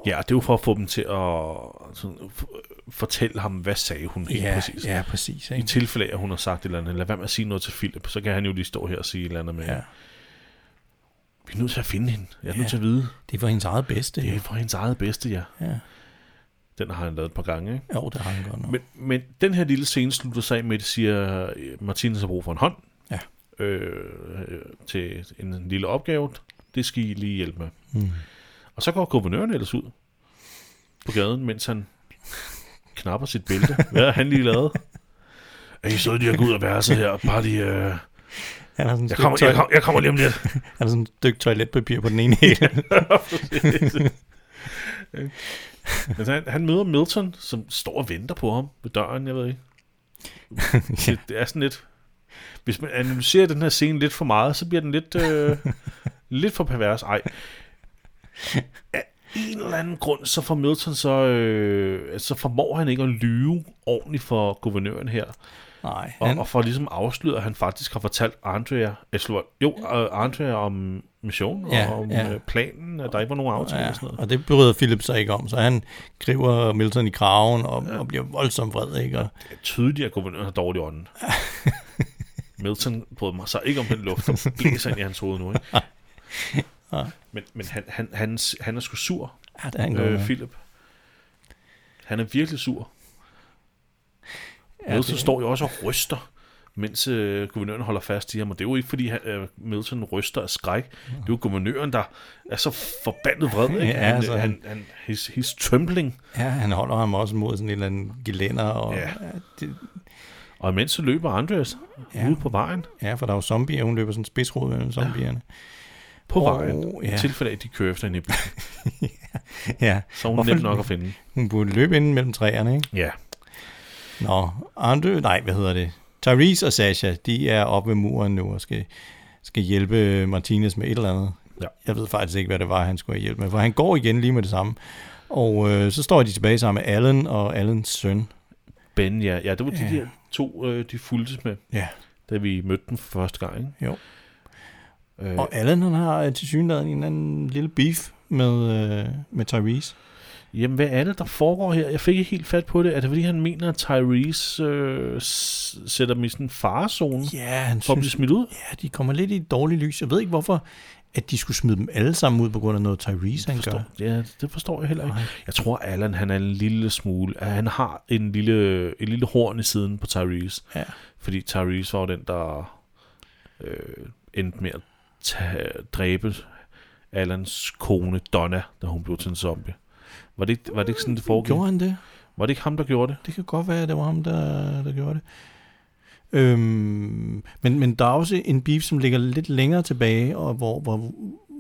Ja, det er jo for at få dem til at sådan, f- fortælle ham, hvad sagde hun helt
ja,
præcis.
ja, præcis
I
ikke?
tilfælde af, at hun har sagt et eller andet, lad være med at sige noget til Philip, så kan han jo lige stå her og sige et eller andet med,
Ja.
ja. vi er nødt til at finde hende, jeg er nødt
Ja.
til at vide,
Det er for hendes eget bedste.
det er
Det.
for hendes eget bedste, ja.
Ja.
Den har han lavet et par gange, ikke?
Jo, det har han godt nok. Men,
Men, men den her lille scene slutter sig af med, at de siger, øh, Martinez har brug for en hånd
Ja.
øh, øh, til en lille opgave. Det skal I lige hjælpe med.
Mm.
Og så går guvernøren ellers ud på gaden, mens han knapper sit bælte. Hvad har han lige lavet? Er I søde lige at gå ud af værelset her? Bare lige, øh,
Han har sådan
jeg,
et stykke
kommer, jeg,
toilet-
kommer, jeg kommer lige om lidt.
han har sådan et stykke toiletpapir på den ene hæl.
Men han, han møder Milton, som står og venter på ham ved døren, jeg ved ikke. Det, det er sådan lidt... Hvis man analyserer den her scene lidt for meget, så bliver den lidt, øh, lidt for pervers. Ej. Af en eller anden grund, så får Milton så... Øh, så formår han ikke at lyve ordentligt for guvernøren her.
Nej,
Og,
han,
og for ligesom afsløre, at han faktisk har fortalt Andrea, jeg slår, jo, øh, Andrea om missionen og
Ja,
om
ja.
øh, planen, at der ikke var nogen aftale ja.
ja,
og sådan noget.
og det bryder Philip sig ikke om, så han griber Milton i kraven og, og bliver voldsomt vred, ikke? Og,
Det er tydeligt, at guvernøren har dårlig ånden. Milton brød mig så ikke om den luft, der blæser ind i hans hoved nu. Ikke? Men, men han, han, han, han er sgu sur,
ja, det er han
øh,
øh,
Philip. Han er virkelig sur.
Ja,
Ja, Milton
det-
står jo også og ryster, mens øh, guvernøren holder fast i ham. Og det er jo ikke, fordi han, øh, Milton ryster af skræk. Det er jo guvernøren, der er så forbandet vred. Ikke?
Ja,
han,
altså,
altså, han,
han-
han, his, his trembling.
Ja, han holder ham også mod sådan et eller andet gelænder. Og,
Ja.
ja. Ja, det,
Og imens så løber Andreas ja.
Ja.
ude på vejen.
ja, for der er jo zombier, hun løber sådan spidsrod mellem zombierne.
På
Åh,
vejen.
ja.
I tilfælde af, at de kører efter hende i byen.
Ja,
Så er hun
Hvorfor-
nemt nok at finde.
hun burde løbe ind mellem træerne, ikke?
Ja.
Nå, Andre, nej, hvad hedder det? Therese og Sasha, de er oppe ved muren nu og skal, skal hjælpe Martinez med et eller andet.
Ja.
Jeg ved faktisk ikke, hvad det var, han skulle have hjælp med, for han går igen lige med det samme. Og øh, så står de tilbage sammen med Allen og Allens søn.
Ben, ja. ja det var de
Ja.
ja. der to, øh, de fulgtes med,
Ja,
da vi mødte dem for første gang. Ikke?
jo.
Øh,
Og Allen, han har øh, til synligheden en eller anden lille beef med, øh, med Tyrese.
Jamen, hvad er det, der foregår her? Jeg fik ikke helt fat på det. Er det, fordi han mener, at Tyrese øh, s- sætter dem i sådan en farezone
Ja, han
for at blive
synes,
smidt ud?
ja, de kommer lidt i et dårligt lys. Jeg ved ikke, hvorfor at de skulle smide dem alle sammen ud på grund af noget Tyrese, han gør.
Forstår, ja, det forstår jeg heller ikke.
Nej.
Jeg tror, Allan han er en lille smule... at Han har en lille, en lille horn i siden på Tyrese.
Ja.
Fordi Tyrese var jo den, der øh, endte med at ta- dræbe Allans kone Donna, da hun blev til en zombie. Var det, ikke- var det ikke sådan, det foregik?
Gjorde han det?
Var det ikke ham, der gjorde det?
Det kan godt være, at det var ham, der, der gjorde det. Øhm, men, men der er også en beef, som ligger lidt længere tilbage, og hvor, hvor,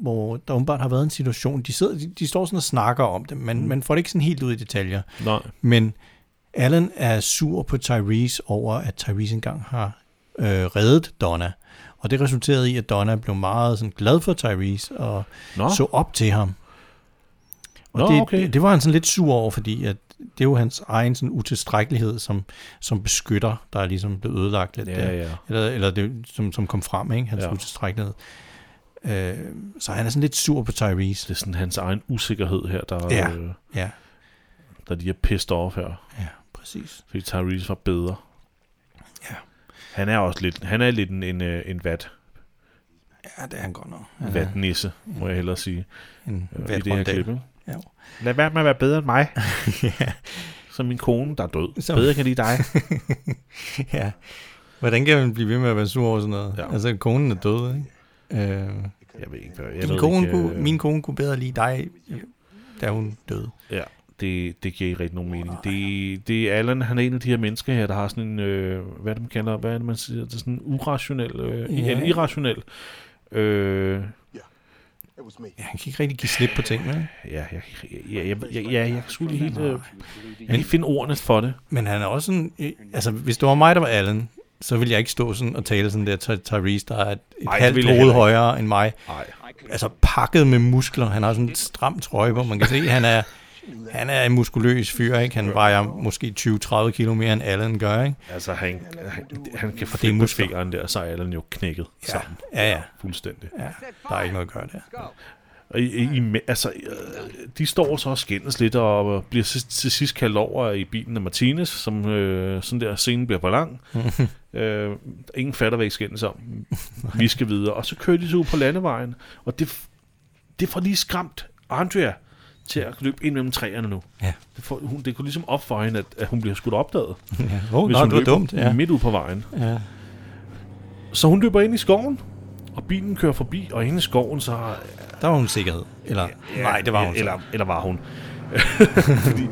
hvor der åbenbart har været en situation. De, sidder, de, de står sådan og snakker om det, men man får det ikke sådan helt ud i detaljer.
Nej.
Men Allen er sur på Tyrese over, at Tyrese engang har øh, reddet Donna. Og det resulterede i, at Donna blev meget sådan, glad for Tyrese og
Nå,
så op til ham. Og
Nå,
det,
okay.
det var han sådan lidt sur over, fordi at det er jo hans egen sådan utilstrækkelighed, som, som beskytter, der er ligesom blevet ødelagt lidt. der.
ja, ja.
Eller, eller det, som, som kom frem, ikke? hans
Ja.
ja. utilstrækkelighed. Øh, så han er sådan lidt sur på Tyrese.
Det er sådan hans egen usikkerhed her, der,
Ja.
øh,
Ja,
der lige er pissed off her.
ja præcis.
Fordi Tyrese var bedre.
Ja.
Han er også lidt, han er lidt en, en, øh, en vat,
Ja, det er han godt nok. Han er
vatnisse, må jeg hellere sige.
en
øh, I det her klip.
vatrondel.
ikke?
Ja.
Lad være med at være bedre end mig.
ja.
Som min kone, der er død.
Som-
Bedre kan lide dig.
ja. Hvordan kan man blive ved med at være sur over sådan noget?
Ja.
Ja. Altså, konen er død, ikke? Øh,
Jeg ved ikke, hvad jeg
din
ved
kone
ikke,
ikke, kunne,
øh,
min kone kunne bedre lide dig, da hun døde.
Ja, det, det giver ikke rigtig nogen mening. Det, det er Allan, han er en af de her mennesker her, der har sådan en, øh, hvad er det, man kalder, hvad er det, man siger, det er sådan en urationel, øh,
Ja.
eller irrationel, øh,
It was me.
Ja, han kan ikke rigtig give slip på tingene. ikke?
ja, jeg, jeg, jeg, jeg, jeg, jeg, jeg kan sgu lige helt, øh, jeg kan
Men-
ikke finde ordene for det.
Men han er også sådan... øh, Altså, hvis det var mig, der var Allen, så ville jeg ikke stå sådan og tale sådan der til Tyrese, der er et, et
Ej, det
halvt
ville jeg
hoved
heller
højere end mig.
Nej.
Altså, pakket med muskler. Han har sådan en stram trøje på. Man kan se, han er... Han er en muskuløs fyr, ikke? Han vejer måske 20-30 kilo mere, end Allen gør, ikke?
Altså, han, han, han kan
det er
flippe
muskler.
fingeren der, og så er Allan jo knækket ja. sammen.
Ja, ja.
Fuldstændig.
ja. Der er ikke noget at gøre der.
Og I, I, I- altså, øh, de står så og skændes lidt og øh, bliver til, til sidst kaldt over i bilen af Martinez, som øh, sådan der scenen bliver for lang. øh, ingen fatter, hvad I skændes om. Vi skal videre. Og så kører de så ud på landevejen, og det, f- det får lige skræmt Andrea til at løbe ind mellem træerne nu.
Ja.
Det, får, hun, det kunne ligesom op for hende, at, at hun bliver skudt opdaget,
ja. Oh,
hvis
nå,
hun
det var
løber
dumt. Ja.
midt ud på vejen.
ja.
Så hun løber ind i skoven, og bilen kører forbi, og inde i skoven, så har
Der var hun sikkerhed. Eller, ja, nej, det var hun så.
Eller, eller var hun. Fordi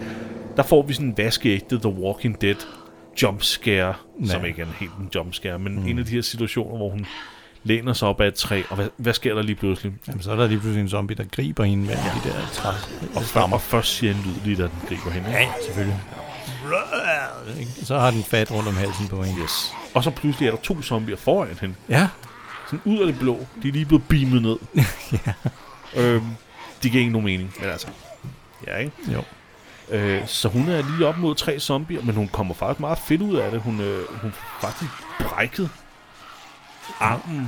der får vi sådan en vaskeægte The Walking Dead jumpscare, ja. som
Ja.
ikke er en helt en jumpscare, men mm. en af de her situationer, hvor hun læner sig op ad et træ, og hvad, hvad sker der lige pludselig?
Jamen, så er der lige pludselig en zombie, der griber hende med ja. de der træ.
Og, før, og først siger en lyd lige, da den griber hende. ikke?
Ja, selvfølgelig. Så har den fat rundt om halsen på hende.
Yes. Og så pludselig er der to zombier foran hende.
Ja,
Sådan ud af det blå. De er lige blevet beamet ned. ja. øhm, de giver ikke nogen mening, men altså... Ja, ikke?
jo.
Øh, så hun er lige op mod tre zombier, men hun kommer faktisk meget fedt ud af det. Hun, øh, hun får faktisk brækket armen.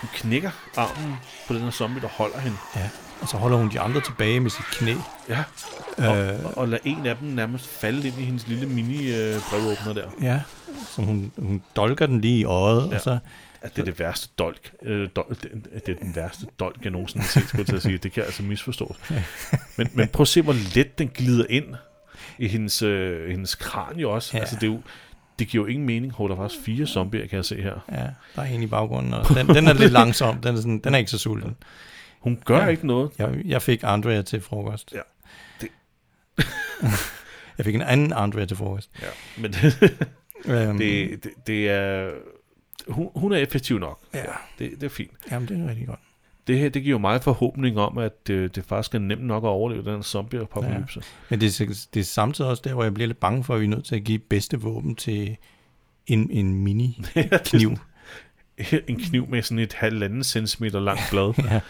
Hun knækker armen på den her zombie, der holder hende.
Ja. Og så holder hun de andre tilbage med sit knæ.
Ja. Og, øh. og, og lader en af dem nærmest falde ind i hendes lille mini-brevåbner der.
Ja. Så hun, hun dolker den lige i øjet, ja. og
Ja.
så...
At det er det værste dolk. Øh, dolk det, det er den værste dolk, jeg nogensinde har set, skulle jeg til at sige. Det kan altså misforstås. Men, men prøv at se, hvor let den glider ind i hendes, øh, hendes kranie også.
Ja.
Ja. Altså, det, er jo, det giver jo ingen mening. Hov, der var også fire zombier, kan jeg se her.
Ja, der er en i baggrunden også. Den, den er lidt langsom. Den er, sådan, den er ikke så sulten.
Hun gør
Ja.
ja. ikke noget.
Jeg, jeg fik Andrea til frokost.
Ja, det-
jeg fik en anden Andrea til frokost.
Ja. Men
Øhm,
det, det, det er... Hun, hun er effektiv nok.
Ja,
Det, det er fint.
jamen, det er rigtig godt.
Det her, det giver jo meget forhåbning om, at øh, det, det faktisk er nemt nok at overleve den her zombie-apokalypse.
Men det er, det er samtidig også der, hvor jeg bliver lidt bange for, at vi er nødt til at give bedste våben til en, en mini-kniv.
en kniv med sådan et halvanden centimeter langt blad.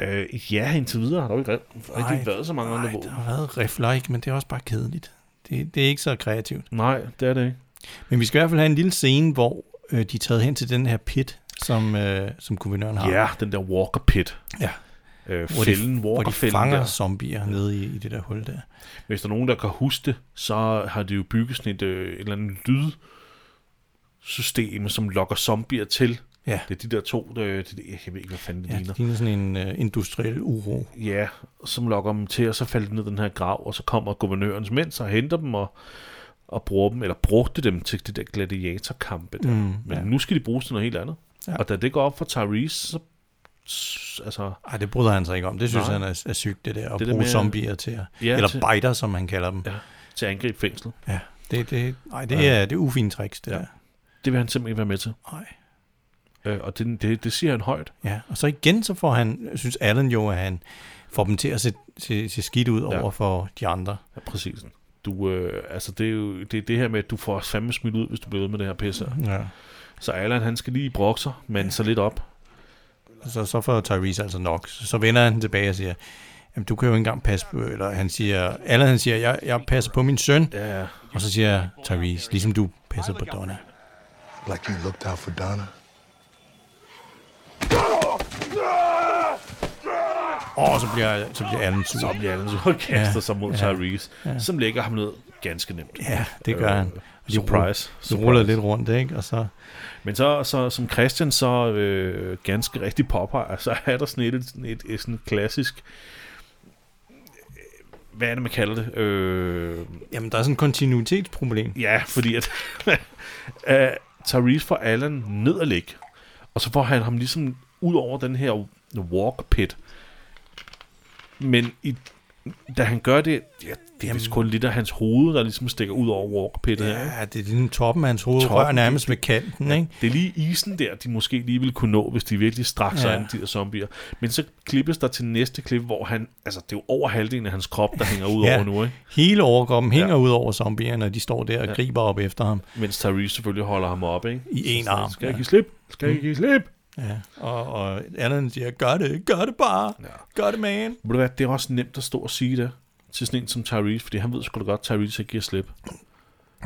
Ja.
Øh, ja, indtil videre har der jo ikke rigtig
Nej,
været så mange andre
Nej, der
våben.
har været rifler, ikke? men det er også bare kedeligt. Det, det er ikke så kreativt.
Nej, det er det ikke.
Men vi skal i hvert fald have en lille scene, hvor øh, de er taget hen til den her pit, som, øh, som guvernøren har.
Ja, den der walker pit.
Ja.
Øh,
Hvor de-
fælden,
Hvor de
walkerfælden
fanger
der.
zombier nede i, i det der hul der.
Hvis der er nogen, der kan huske det, så har de jo bygget sådan et, øh, et eller andet lydsystem, som lokker zombier til.
Ja,
Det er de der to, der, det, jeg ved ikke, hvad fanden det
ja
ligner.
det ligner sådan en øh, industriel uro.
Ja, som lokker dem til, og så falder de ned i den her grav, og så kommer guvernørens mænd, så henter dem og, og bruger dem, eller brugte dem til de der gladiatorkampe der.
Mm,
Men
ja.
ja. nu skal de bruges til noget helt andet.
Ja.
Ja. Og da det går op for Tyrese, så s- altså,
Ej, det bryder han sig ikke om. Det synes
Nej.
han er, er sygt, det der. At
Det
det
der
bruge
med-
zombier til at... Ja,
Ja,
eller til...
til-
biter, som han kalder dem. Ja.
ja, til at angribe fængslet.
ja. Det, det, nej, det er, det er ufint tricks, det ja.
Ja.
der.
Det vil han simpelthen ikke være med til.
Nej.
Øh, og det, det, det siger han højt.
Ja, og så igen, så får han, synes Allen jo, at han får dem til at se, se, se skidt ud
Ja.
over for de andre.
Ja, præcis. Du, øh, altså det er jo det, er det her med, at du får os fandme smidt ud, hvis du bliver ved med det her pisse. her.
Ja.
Så Allan, han skal lige brokke sig, men så lidt op.
Så, så får Tyrese altså nok. Så, så vender han tilbage og siger, Jamen, du kan jo ikke engang passe på, eller han siger, Allen han siger, jeg, jeg passer på min søn,
Ja, ja.
og så siger Tyrese, ligesom du passer på Donna.
Like you looked out for Donna.
Og så bliver, så bliver Allen sur.
Så bliver Allen så og kaster
Ja,
ja, sig mod
ja,
ja, Tyrese, ja. som lægger ham ned ganske nemt.
Ja, det gør
Øh,
han. Og de ruller-
Surprise.
Så
surprise.
ruller lidt rundt, ikke? Og så,
Men så, så som Christian så øh, ganske rigtig påpeger, så er der sådan et, et, et, et sådan klassisk, øh, hvad er det, man kalder det? Øh,
jamen, der er sådan et kontinuitetsproblem.
ja, fordi at øh, Tyrese får Allen ned at ligge, og så får han ham ligesom ud over den her walk pit. Men i, da han gør det, ja, det er vist kun lidt af hans hoved, der ligesom stikker ud over walk pittet. Ja.
Ja, det er ligesom toppen af hans hoved,
Toppen,
rører nærmest ved kanten, ikke?
Det er lige isen der, de måske lige ville kunne nå, hvis de virkelig straks sig
Ja.
ja. an de der zombier. Men så klippes der til næste klip, hvor han, altså det er jo over halvdelen af hans krop, der hænger ud
Ja.
ja. over nu, ikke?
Hele overkroppen hænger ja.
Ja.
ud over zombierne, og de står der og ja. griber op efter ham.
Mens Tyrese selvfølgelig holder ham op, ikke?
I én
Så
arm,
Skal
ja. Mm.
jeg give slip? Skal jeg give slip?
Ja. Og, og Allen siger, gør det, gør det bare, ja.
Ja.
gør det, man.
Ved du hvad, det er også nemt at stå og sige det til sådan en som Tyrese, fordi han ved sgu da godt, at Tyrese ikke giver slip.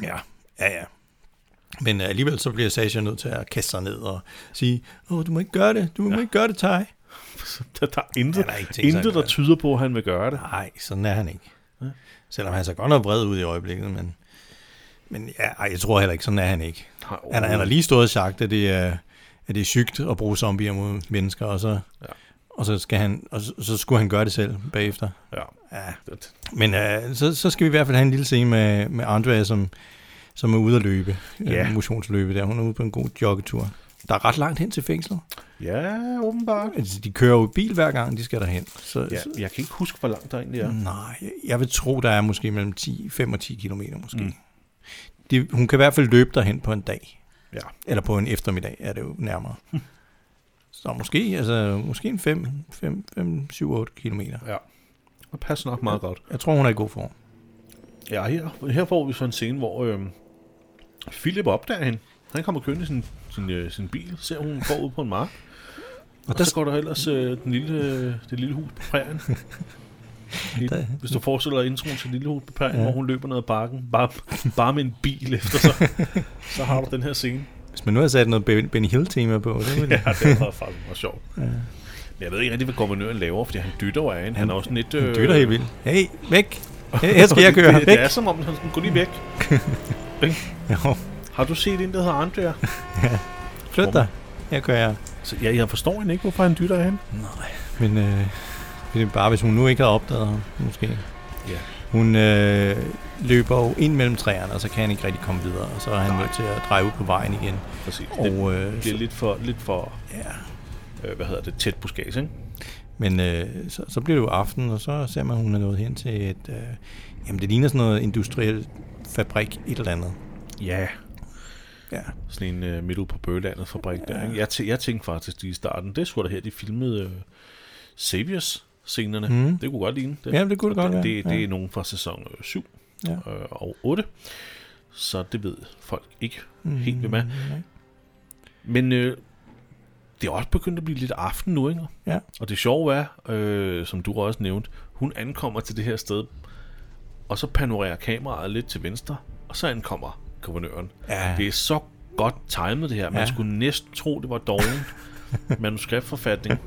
Ja, ja, ja. Men øh, alligevel så bliver Sasha nødt til at kaste sig ned og sige, åh, du må ikke gøre det, du må ja. ikke gøre det, Ty.
Der, der er intet,
Han har ikke tænkt sig at
intet
gøre
der
det.
tyder på, at han vil gøre det.
Nej, sådan er han ikke. Selvom han ser godt nok vred ud i øjeblikket, men, men ja, ej, jeg tror heller ikke, sådan er han ikke.
Nej,
Han, han har
overhovedet.
lige stået og sagt, at det er, at det er sygt at bruge zombier mod mennesker, og så, ja. og så, skal han, og så, så skulle han gøre det selv bagefter.
Ja.
Ja.
Det-
Men øh, så, så skal vi i hvert fald have en lille scene med, med Andrea, som, som er ude at løbe, ja.
Ja.
øh, motionsløbe der. Hun er ude på en god joggetur. Der er ret langt hen til fængslet.
Ja, åbenbart.
Altså, de kører jo i bil hver gang, de skal derhen. Så,
Ja,
så,
jeg kan ikke huske, hvor langt der egentlig er.
nej, jeg vil tro, der er måske mellem 10, 5 og 10 kilometer måske. Mm. de, hun kan i hvert fald løbe derhen på en dag.
Ja.
Eller på en eftermiddag er det jo nærmere. Så måske, altså, måske en 5, 5, 5 7, 8 kilometer.
Ja. Det passer nok meget godt.
Jeg tror, hun er i god form.
Ja, her, her får vi så en scene, hvor øh, Philip opdager hende. Han kommer kørende i sin, sin, øh, sin bil, ser hun går ud på en mark. Og, og der så går der ellers øh, den lille, øh, det lille hus på prærien.
Der-
Hvis du forestiller dig introen til Lille Hus på prærien, ja. hvor hun løber ned ad bakken, bare, bare med en bil efter sig, så har du den her scene.
Hvis man nu havde sat noget Ben- Benny Hill-tema på, så ville det...
Ja, det var faktisk meget sjovt. Ja. Men jeg ved ikke rigtig, hvad guvernøren laver, fordi han dytter jo af hende. Han er også lidt... Øh,
Dytter helt vildt. Hey, væk! Her her skal jeg køre.
det, det,
Væk!
det er som om, han sådan, gå lige væk.
Jo,
Har du set en, der hedder Andrea?
flyt dig. Her kører jeg.
Så, ja, jeg forstår hende ikke, hvorfor han dytter af hende.
Men øh, det er bare, hvis hun nu ikke havde opdaget ham, måske.
Ja.
Hun øh, løber jo ind mellem træerne, og så kan han ikke rigtig komme videre. Og så er han nødt til at dreje ud på vejen igen.
Præcis. Det,
Og, øh,
det er lidt for, lidt for
ja.
øh, hvad hedder det, tæt buskage, ikke?
Men øh, så, så bliver det jo aften, og så ser man, at hun er nået hen til et... Øh, jamen, det ligner sådan noget industriel fabrik, et eller andet.
Ja.
Ja.
Sådan en øh, midt ude på Bøgelandet fabrik der. Ikke? Jeg, tæ- jeg tænkte faktisk lige i starten, det skulle da her, de filmede øh, Saviors scenerne. Mm. Det kunne godt ligne det.
Ja, det kunne det
Og
godt
det,
være,
Det, det
ja.
er nogen fra sæson 7
Ja.
ja. øh, og 8. Så det ved folk ikke mm. helt, hvem er.
nej.
Men øh, det er også begyndt at blive lidt aften nu, ikke?
Ja.
Og det sjove er, øh, som du også nævnte, hun ankommer til det her sted, og så panorerer kameraet lidt til venstre, og så ankommer guvernøren.
Ja.
Det er så godt timet det her. Man
Ja.
ja. skulle næsten tro, det var dårligt manuskriptforfatning.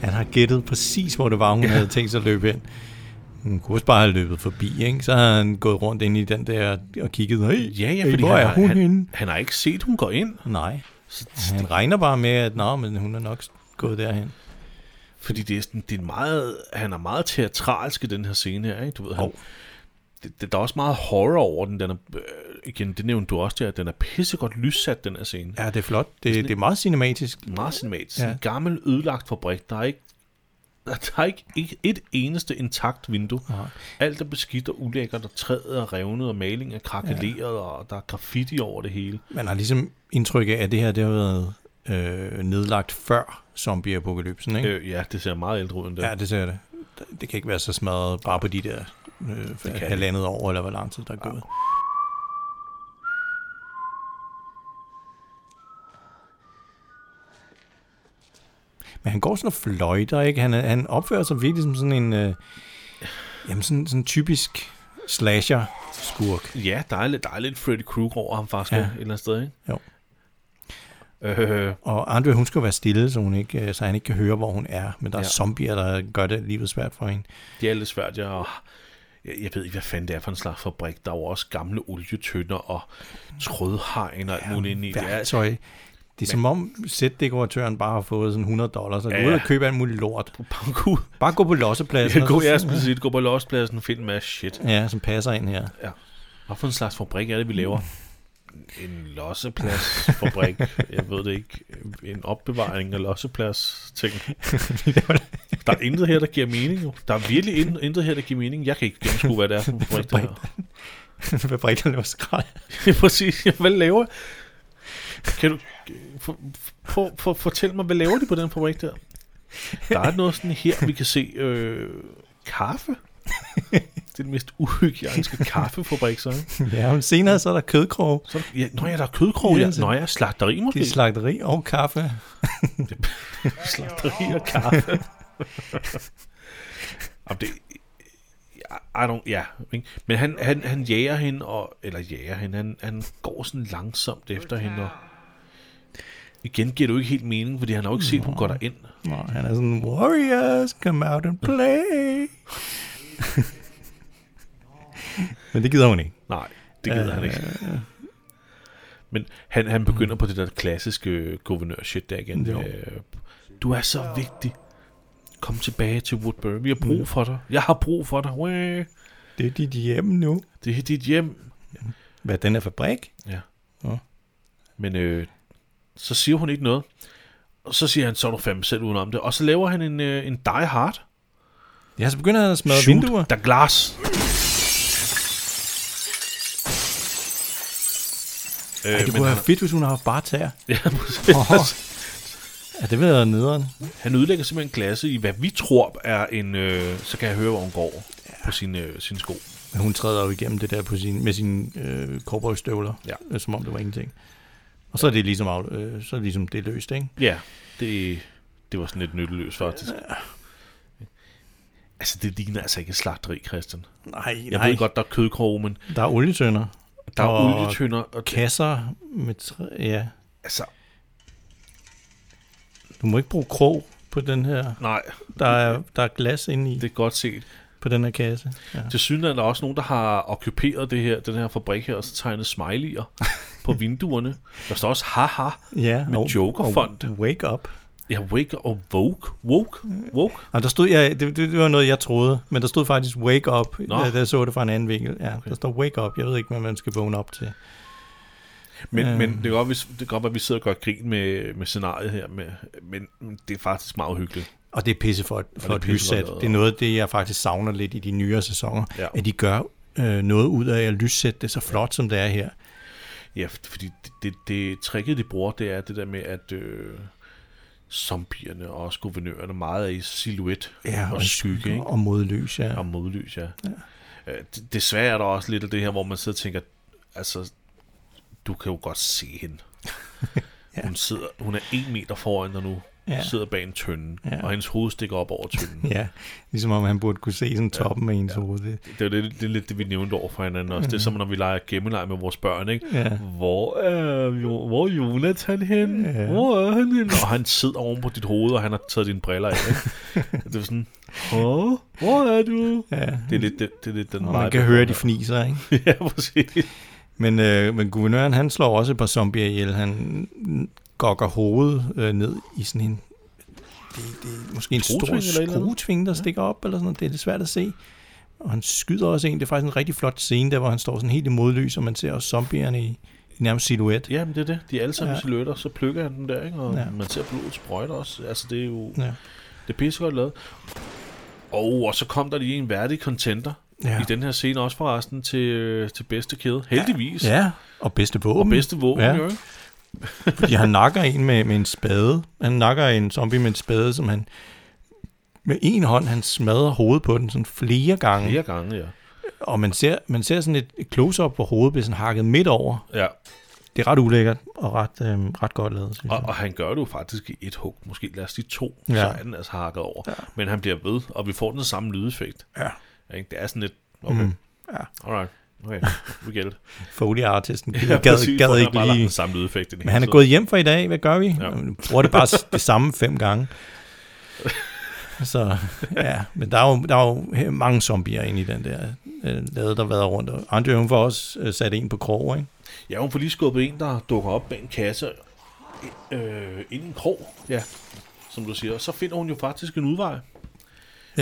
Han har gættet præcis, hvor det var, hun ja. havde tænkt sig at løbe hen. Hun kunne også bare have løbet forbi, ikke? Så har han gået rundt ind i den der og kigget. Hey,
Ja, ja,
hey,
fordi
hvor
han,
er
har-
hun
han,
henne?
han har ikke set, hun går ind.
Nej,
Så,
han regner bare med, at nå, men hun er nok gået derhen.
fordi det er sådan, det er en meget, han er meget teatralsk i den her scene her, ikke? Du ved, han,
Hov.
det, det, der er også meget horror over den. den er, øh, igen, det nævnte du også der, at den er pissegodt lyssat, den her scene.
Ja, det er flot.
Altså,
Det, det er meget cinematisk.
Meget cinematisk.
Ja.
Ja. En gammel, ødelagt fabrik. Der er ikke der er ikke, ikke et eneste intakt vindue.
Nej.
Alt er beskidt og ulækkert, og træet er revnet, og malingen er krakeleret, ja. og der er graffiti over det hele.
Man har ligesom indtryk af, at det her det har været øh, nedlagt før zombieapokalypsen, ikke? Øh,
Øh, ja, det ser meget ældre ud end det.
ja. det ser det. Det kan ikke være så smadret bare på de der øh, halvandet år, eller hvor lang tid der er gået. Men han går sådan og fløjter, ikke? Han, er- han opfører sig virkelig som sådan en... Øh, jamen, sådan, sådan en typisk slasher-skurk.
Ja, der er, lidt, der er lidt Freddy Krueger over ham faktisk
Ja.
ja. et eller andet sted, ikke?
Jo.
Øh,
Og Andrea, hun skal være stille, så, hun ikke, øh, så han ikke kan høre, hvor hun er. Men der er
Ja.
zombier, der gør det livet svært for hende.
det er lidt svært. Jeg, jeg, jeg ved ikke, hvad fanden det er for en slags fabrik. Der er jo også gamle olietønder og trådhegn og alt muligt inde i. altså, Det er,
Værktøj. Det er som om sætdekoratøren bare har fået sådan 100 dollars, og gå
Ja,
ud og
ja.
købe alt muligt lort.
bare gå,
Bare gå på lossepladsen.
ja,
og
gå,
så-
jeg skulle sige, gå på lospladsen og find en masse shit.
Ja, som passer ind her.
Ja. Hvad for en slags fabrik er det, vi laver? En lossepladsfabrik. Jeg ved det ikke. En opbevaring af losseplads-ting. Der er intet her, der giver mening. Jo. Der er virkelig in- intet her, der giver mening. Jeg kan ikke gennemskue, hvad det er for en fabrik, det her.
Fabrik, der laver skrald.
Ja, præcis. Hvad laver Kan du for, for, for, fortæl mig, hvad laver de på den fabrik der? Der er noget sådan her, vi kan se øh, kaffe. Det er den mest uhygiejniske kaffefabrik, så. ikke?
Ja, men senere så er der kødkrog.
så er der- ja, nå ja, der er kødkrog, ja.
Ja, så-
Nå ja, slagteri måske.
Det er slagteri og kaffe.
slagteri og kaffe. Jamen, det, I don't, ja, ikke? men han, han, han jager hende, og, eller jager hende, han, han går sådan langsomt efter hende, og igen giver det jo ikke helt mening, fordi han har jo ikke set, hun går derind.
Nå, han er sådan, warriors, come out and play. men det gider hun ikke.
Nej, det gider han ikke. Men han, han begynder på det der klassiske øh, guvernør-shit der igen.
Jo.
Øh, Du er så vigtig. Kom tilbage til Woodbury. Vi har brug for dig. Jeg har brug for dig. Wæh.
Det er dit hjem nu.
Det er dit hjem.
Hvad, den er fabrik?
Ja.
Nå.
Men øh, så siger hun ikke noget. Og så siger han, så er du fandme selv udenom det. Og så laver han en, øh, en Die Hard.
Ja, så begynder han at smadre
Øh,
vinduer.
Der glas. Øh,
Ej, det
men
kunne
han,
være fedt, hvis hun har haft bare tær.
ja, præcis.
Åh. Ja, det ville have været nederen.
han ødelægger simpelthen en klasse i, hvad vi tror er en... Øh, så kan jeg høre, hvor hun går ja. på sine, øh, sine sko.
Men hun træder jo igennem det der på sin, med sine øh, cowboystøvler,
Ja.
ja. øh, som om det var ingenting. Og så er det ligesom, af- øh, så er det, ligesom det er løst, ikke?
Ja, det, det var sådan lidt nytteløst faktisk. Altså, det ligner altså ikke et slagteri, Christian.
Nej,
Jeg ved godt, der er kødkroge, men
Der er olietønder.
der er
Og
olietønder. Og
Kasser med træ, ja.
altså,
Du må ikke bruge krog på den her.
nej,
Der er, der er glas inde i
det er godt set.
på den her kasse. Ja.
Til synligheden er der også nogen, der har okkuperet det her, den her fabrik her, og så tegnet smiley'er på vinduerne. Der står også haha.
ja
med Jokerfond.
Og wake up.
Ja, wake og woke. Woke? Woke?
Og der stod, ja, det, det, det var noget, jeg troede, men der stod faktisk wake up,
Nå.
Nå. da jeg så det fra en anden vinkel. Ja, okay. der står wake up. Jeg ved ikke, hvad man skal vågne op til.
Men,
Øhm.
men det, kan godt, hvis, det kan godt være, at vi sidder og gør grin med, med scenariet her, med, men det er faktisk meget hyggeligt.
Og det er pisse for, for
det er
et
pisse
lyssæt.
godt lavet.
Det er noget af det, jeg faktisk savner lidt i de nyere sæsoner,
Ja.
ja. at de gør øh, noget ud af at lyssætte det så flot, som det er her.
Ja, f- fordi det, det, det tricket, de bruger, det er det der med, at øh, zombierne og også guvernørerne meget er i silhuet og, og skygge, ikke?
Og modløs, ja.
Og modlys, ja. ja. Øh, d- desværre er der også lidt af det her, hvor man sidder og tænker, altså, du kan jo godt se hende. ja. hun, sidder, hun er en meter foran dig nu, ja.
Ja.
sidder bag en tønde, ja.
Ja.
og hendes hoved stikker op over tønden.
Ja, ligesom om han burde kunne se sådan toppen af ens ja. hoved. Det,
Det er jo lidt, det, er lidt det, vi nævnte over for hinanden også. Mm. Det er som, når vi leger gemmeleg med vores børn, ikke?
Mhm. Ja.
Hvor er, jo, hvor er Jonathan hen? Ja.
Ja.
Hvor er han hen? Og han sidder oven på dit hoved, og han har taget dine briller af, ikke? det er sådan, Åh, hvor er du?
ja.
Det er lidt, det, det er lidt den
Og
vibe,
man kan høre,
jeg
de fniser, ikke?
får. ja, præcis.
Men, øh, men guvernøren, han slår også et par zombier ihjel. Han gokker hovedet øh, ned i sådan en... Det, det er måske en
Skruetving
stor
eller et eller andet?
skruetving, der stikker op, eller sådan noget. Det er lidt svært at se. Og han skyder også en. Det er faktisk en rigtig flot scene, der hvor han står sådan helt i modlys, og man ser også zombierne i, i nærmest silhuet.
Jamen, det er det. De er alle sammen ja.
Ja.
silhuetter, så plukker han den der, ikke? Og ja.
Ja.
man ser blodet sprøjter også. Altså, det er jo... Ja.
Ja.
Det er pissegodt lavet. Og, og så kom der lige en værdig contender ja.
Ja.
i den her scene, også forresten, til, øh, til bedste kæde. Heldigvis.
ja, og bedste våben.
Og bedste våben, ja.
Ja.
jo, ikke?
Fordi han nakker en med, med en spade. Han nakker en zombie med en spade, som han med en hånd, han smadrer hovedet på den sådan flere gange.
Flere gange, ja.
Og man ser, man ser sådan et close-up, hvor hovedet bliver sådan hakket midt over.
ja.
Det er ret ulækkert og ret, øh, ret godt lavet, synes
Og,
jeg.
og han gør det jo faktisk i et hug. Måske lad os sige to, ja.
Ja.
så er den altså hakket over. Ja. Men han bliver ved, og vi får den samme lydeffekt.
Ja.
Ikke? Det er sådan lidt... Okay. Mm. Ja. Alright. Okay, vi gælder det.
Foley-artisten
Ja,
gad,
præcis,
gad,
hvor
gad
han
ikke
bare lagt
lige...
den samme lydeffekt. i den
Men
hele
han er
tiden.
gået hjem for i dag. Hvad gør vi?
Ja.
Ja. Bruger det bare s- det samme fem gange. Så ja, men der er jo, der er jo he- mange zombier inde i den der øh, lade, der har været rundt. Og Andre, hun får også øh, sat en på krog, ikke?
Ja, hun får lige skubbet en, der dukker op bag en kasse øh, ind i en krog, ja, som du siger. Og så finder hun jo faktisk en udvej. Ja.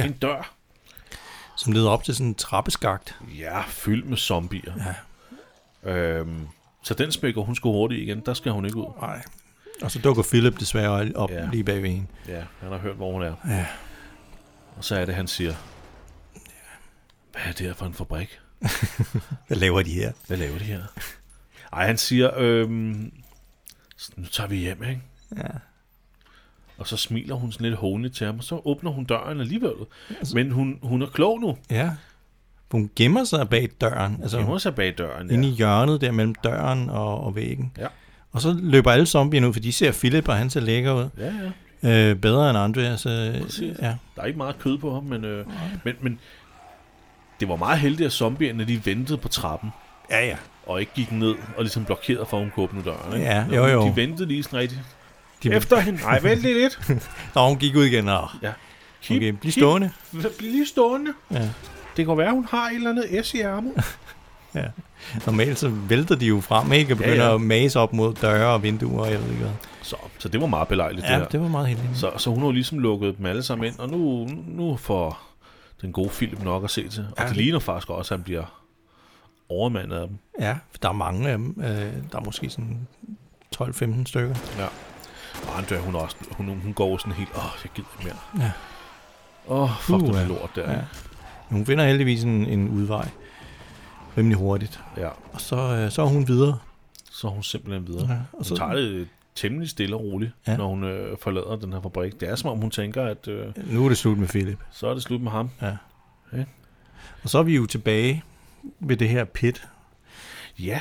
Ja.
En dør.
Som leder op til sådan en trappeskagt.
Ja, fyldt med zombier. Ja. Øhm, så den smækker hun sgu hurtigt igen. Der skal hun ikke ud.
Nej. Og så dukker Philip desværre op
Ja.
ja. lige bagved hende.
Ja, han har hørt, hvor hun er.
Ja.
Og så er det, han siger. Hvad er det her for en fabrik?
Hvad laver de her?
Hvad laver de her? Ej, han siger, øhm, "Så nu tager vi hjem, ikke?
Ja.
Og så smiler hun sådan lidt hånligt til ham, og så åbner hun døren alligevel.
Altså-
Men hun, hun er klog nu.
Ja. Hun gemmer sig bag døren, altså
Hun
ja.
er sig bag døren.
inde
ja.
i hjørnet der mellem døren og, og væggen.
Ja.
Og så løber alle zombierne ud, for de ser Philip, og han ser lækker ud.
ja, ja.
Øh, bedre end andre. Så,
Præcis.
ja.
Der er ikke meget kød på ham, men, øh, men, men det var meget heldigt, at zombierne de ventede på trappen,
ja, ja.
og ikke gik ned og ligesom blokerede for, at hun kunne åbne døren. Ikke?
Ja, jo, jo.
De ventede lige sådan rigtigt.
De,
Efter hende. Nej, vent lige lidt.
Nå, hun gik ud igen. Og,
Ja. Kig,
okay, bliv stående.
Kig, bliv lige stående.
Ja.
Det kan være, hun har et eller andet S i ærmet.
Ja. Normalt så vælter de jo frem, ikke? Og
Ja,
begynder
ja.
ja, ja. at mase op mod døre og vinduer, jeg ved ikke hvad.
Så, så det var meget belejligt, det
Ja,
her.
det var meget heldigt.
Så, så hun har jo ligesom lukket dem alle sammen ind, og nu, nu får den gode Philip nok at se til. Og det ligner faktisk også, at han bliver overmandet af dem.
Ja, for der er mange af dem. Øh, der er måske sådan 12-15 stykker.
Ja. Og Andrea, hun, er også, hun, hun går jo sådan helt, åh, jeg gider ikke mere.
Ja.
Åh, oh, fuck uh,
Puha.
det lort der. Ja.
Ja. Men hun finder heldigvis en, en udvej rimelig hurtigt.
ja.
Og så, øh, så er hun videre.
så er hun simpelthen videre.
Ja,
Ja,
og
og
så-
hun tager det temmelig stille og roligt,
Ja.
ja. når hun øh, forlader den her fabrik. Det er som om hun tænker, at øh,
Nu er det slut med Philip.
så er det slut med ham.
Og så er vi jo tilbage ved det her pit.
Ja,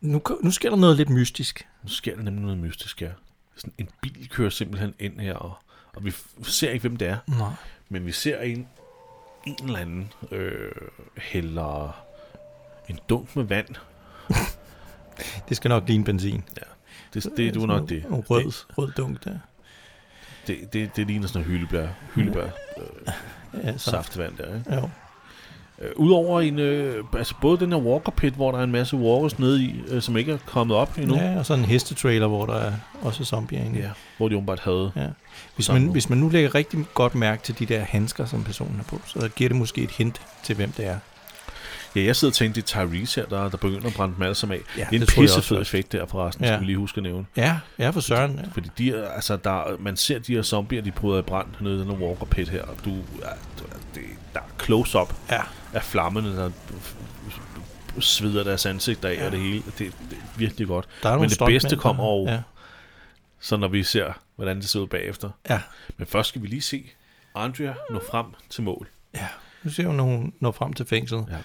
Nu, ko- nu sker der noget lidt mystisk.
nu sker der nemlig noget mystisk her. Sådan en bil kører simpelthen ind her, og, og vi f- ser ikke, hvem det er.
Nej.
Men vi ser en, en eller anden øh, hælder en dunk med vand.
Det skal nok ligne benzin.
Det, Altså, det, det er jo nok det.
En rød, rød dunk der.
Det, det, det, det ligner sådan noget hyldebær, hyldebær øh,
Ja, så.
saftevand der, ikke?
Jo.
Øh, Udover en, øh, altså både den her walker pit, hvor der er en masse walkers nede i, øh, som ikke er kommet op endnu.
Ja, og så en hestetrailer, hvor der er også zombier inde.
ja. Hvor de åbenbart havde.
Ja. Hvis,
Sådan
man,
nu.
hvis man nu lægger rigtig godt mærke til de der handsker, som personen har på, så giver det måske et hint til, hvem det er.
Ja, jeg sidder og tænkte, det er Tyrese her, der, der begynder at brænde dem alle sammen af.
Ja,
Ja, det er en
det troede jeg også
pissefed
først.
effekt der forresten,
Ja.
ja. skal vi lige huske at nævne.
Ja, ja for Søren. Ja.
Fordi de, er- altså, der, man ser de her zombier, de bryder i brand nede i den her walker pit her, og du, ja, du- det, der er close-up
ja.
af flammerne, der svider deres ansigt af ja. og det hele. Det, det er virkelig godt.
Der er nogle
Men det
stuntmænd,
bedste
der-
kommer over,
Ja.
ja. så når vi ser, hvordan det ser ud bagefter.
ja.
Men først skal vi lige se Andrea nå frem til mål.
ja. Nu ser hun, når hun når frem til fængslet.
Ja.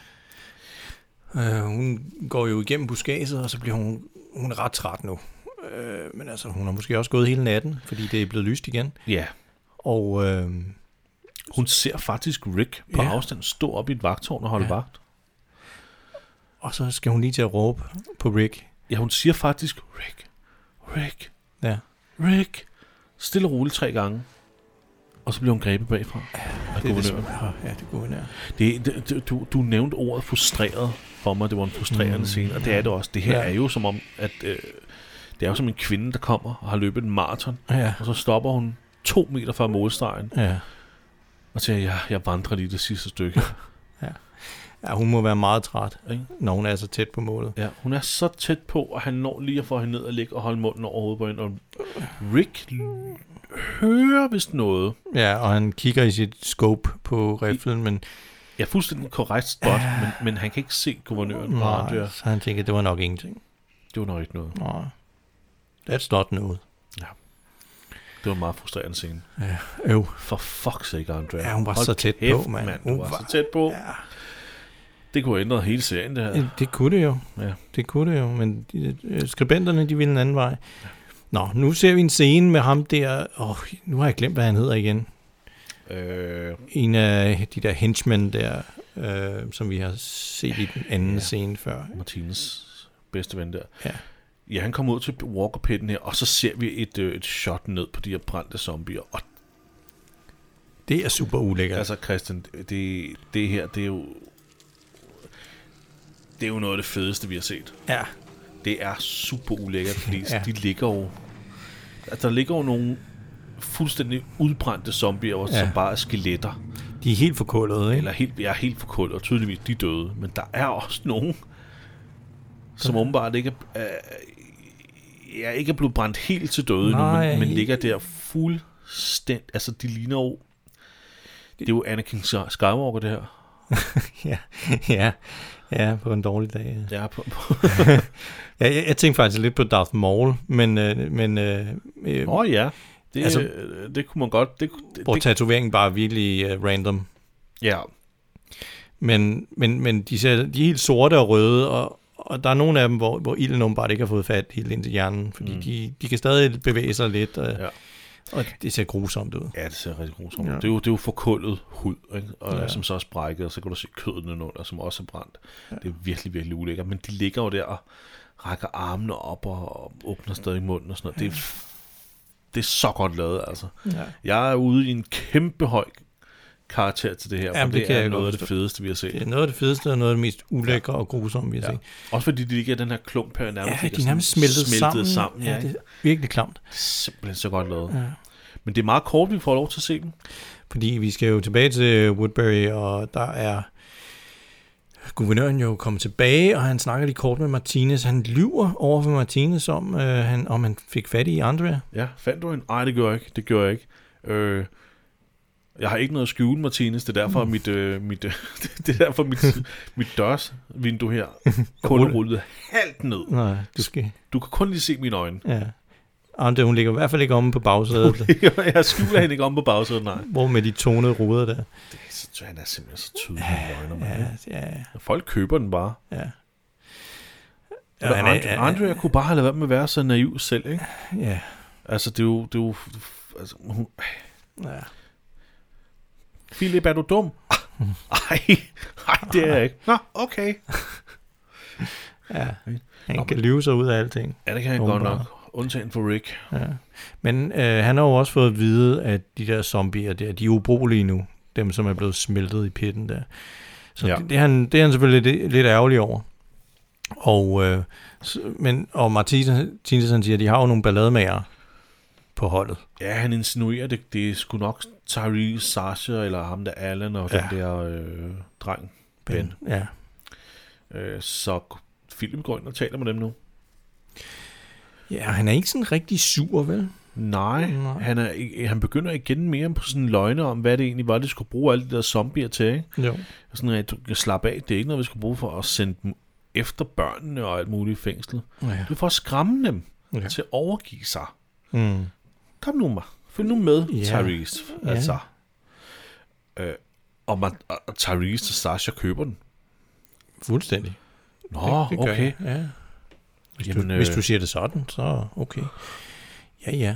Øh, hun går jo igennem buskaget, og så bliver hun, hun er ret træt nu. Øh, men altså, hun har måske også gået hele natten, fordi det er blevet lyst igen.
Ja,
Og øh,
hun ser faktisk Rick på
Ja.
ja. afstand stå op i et vagtårn og holde
Ja.
ja. vagt.
Og så skal hun lige til at råbe på Rick.
Ja, hun siger faktisk Rick, Rick,
Ja.
Rick. Stille og roligt tre gange. Og så bliver hun grebet bagfra. af
Det er
guvernøren.
det, ja, det er guvernør.
Det, det, det, du, du nævnte ordet frustreret for mig. Det var en frustrerende
Mm.
mm. scene, og det er det også. Det her
Ja.
ja. er jo som om, at øh, det er jo som en kvinde, der kommer og har løbet en maraton,
Ja.
og så stopper hun to meter fra målstregen
Ja.
og siger, ja, jeg vandrer lige det sidste stykke.
ja, hun må være meget træt,
Ikke?
når hun er så tæt på målet.
ja, hun er så tæt på, og han når lige at få hende ned og ligge og holde munden over hovedet på hende. Og Rick l- hører vist noget.
Ja, og han kigger i sit scope på riflen, men
Ja, fuldstændig korrekt spot, men, men han kan ikke se guvernøren.
nej,
Nej.
så han tænker, det var nok ingenting.
Det var nok ikke noget.
Nej, that's not noget.
Det var en meget frustrerende scene.
Øv.
For fuck's sake, Andrea.
Ja, hun var
Hold
så tæt
kæft,
på, mand.
Hun,
Hun
var,
var-
så tæt på.
Ja.
Det kunne have ændret hele serien, det her.
Ja. Det kunne det jo.
Ja.
Det kunne det jo, men de, øh, skribenterne, de ville en anden vej. Nå, nu ser vi en scene med ham der. Åh, oh, nu har jeg glemt, hvad han hedder igen.
Øh,
En af de der henchmen der, øh, som vi har set i den anden ja.
Ja.
scene før.
Martines bedste ven der.
Ja.
Ja, han kommer ud til walkerpitten her, og så ser vi et, øh, et shot ned på de her brændte zombier. Og
Det er super
ja.
ulækkert.
altså, Christian, det, det her, det er jo... Det er jo noget af det fedeste, vi har set.
Ja,
Det er super ulækkert, fordi
Ja.
ja. de ligger jo... Altså, der ligger jo nogle fuldstændig udbrændte zombier, ja.
Ja.
som bare er skeletter.
de er helt forkullede, ikke?
Eller helt, jeg er helt forkullet, og tydeligvis de er døde. Men der er også nogen, som åbenbart ikke er, øh, jeg ikke er blevet brændt helt til døde
Nej,
Nej, nu, men, men
helt-
ligger der fuldstændig... Altså, de ligner jo... Det er jo Anakin Sk- Skywalker, det her.
ja, ja, ja, på en dårlig dag. Ja.
Jeg er på, på.
Ja, jeg, jeg tænkte faktisk lidt på Darth Maul, men, øh, men øh, øh,
Åh ja, det,
Altså-
altså, øh, det kunne man godt... Det, det,
hvor
det,
tatoveringen bare er virkelig øh, random.
ja,
Men, men, men de, ser, de er helt sorte og røde, og, og der er nogle af dem, hvor, hvor ilden åbenbart ikke har fået fat helt ind til hjernen, fordi mm. de, de kan stadig bevæge sig lidt, og, ja.
Ja.
og det ser grusomt ud.
ja, det ser rigtig grusomt ud.
Ja.
Ja. Det, er jo, det er jo forkullet hud, ikke? Og
Ja.
ja. som så er sprækket, og så kan du se kødet nedenunder, som også er brændt. Ja. Det er virkelig, virkelig ulækkert. Men de ligger jo der og rækker armene op og, og åbner stadig munden og sådan noget. Ja. Det, er, det er så godt lavet, altså.
Ja.
Jeg er ude i en kæmpe høj karakter til det her,
Jamen,
Jamen,
det
det,
kan
det er
jeg godt
noget af det
forstå.
fedeste, vi har
Det
set.
er noget af det fedeste, og noget af det mest ulækre og grusomme, vi har
Ja.
set.
Også fordi de ligger i den her klump her nærmest.
Ja,
ligger
de er nærmest
sådan
smeltet, sammen.
sammen ja,
ja, det
ikke?
er virkelig klamt,
Simpelthen så godt lavet.
Ja.
Ja. Men det er meget kort, vi får lov til at se dem.
fordi vi skal jo tilbage til Woodbury, og der er guvernøren jo kommet tilbage, og han snakker lige kort med Martinez. Han lyver over for Martinez om, øh, han, om han fik fat i Andrea.
Ja, fandt du en? Nej, det gjorde jeg ikke. Det gjorde jeg ikke. Øh, Jeg har ikke noget at skjule, Martinez. Det er derfor,
Mm.
at mit, øh, mit, øh, det er derfor mit, mit dørsvindue her kun er rullet halvt ned.
Nej, du skal...
Du kan kun lige se mine øjne.
Ja. Arndt, hun ligger i hvert fald ikke omme på bagsædet,
Jeg skjuler hende ikke om på bagsædet, nej.
hvor med de tonede ruder der.
Så han er simpelthen så tydelig i øjnene, mand.
Ja, ja,
Folk køber den bare.
ja.
Ja,
han
han
er-
Andre, Andrea kunne bare have lavet være med at være så naiv selv, ikke?
Ja,
Altså, det er jo... Det er jo altså, hun,
ja.
Philip, er du dum? Ej, ej, det er jeg ikke. Nå, okay.
ja.
Nå,
Han kan lyve sig ud af alting.
Ja, det kan han godt
Åbenbart.
nok. Undtagen for Rick.
Ja. Men øh, han har jo også fået at vide, at de der zombier der, de er ubrugelige nu. Dem, som er blevet smeltet i pitten der. Så
Ja.
ja. det, det, er han, det er han selvfølgelig lidt, lidt ærgerlig over. Og, øh, s- men, og Martinez han siger, at de har jo nogle ballademager på holdet.
Ja, han insinuerer, det, det er sgu nok Tyrese, Sasha eller ham der Allen og ja.
Ja.
den der øh, dreng, Ben.
Ja.
Øh, så Philip går ind og taler med dem nu.
ja, og han er ikke sådan rigtig sur, vel?
Nej,
Nej.
Han, er, ikke- han begynder igen mere på sådan løgne om, hvad det egentlig var, de skulle bruge alle de der zombier til. Ikke?
Jo.
Sådan, at du kan slappe af, det er ikke noget, vi skal bruge for at sende dem efter børnene og alt muligt i fængsel.
Ja.
Det er for at skræmme dem
Ja.
til at overgive sig.
Mm.
Kom nu med. Følg nu med,
Ja.
Tyrese.
Ja.
Altså. Øh, og, man, og og Tyrese og Sasha køber den.
Fuldstændig.
Nå,
det, det gør
okay.
jeg, Ja. Hvis, Jamen,
Jamen,
du, hvis
øh,
du siger det sådan, så okay. Ja, ja.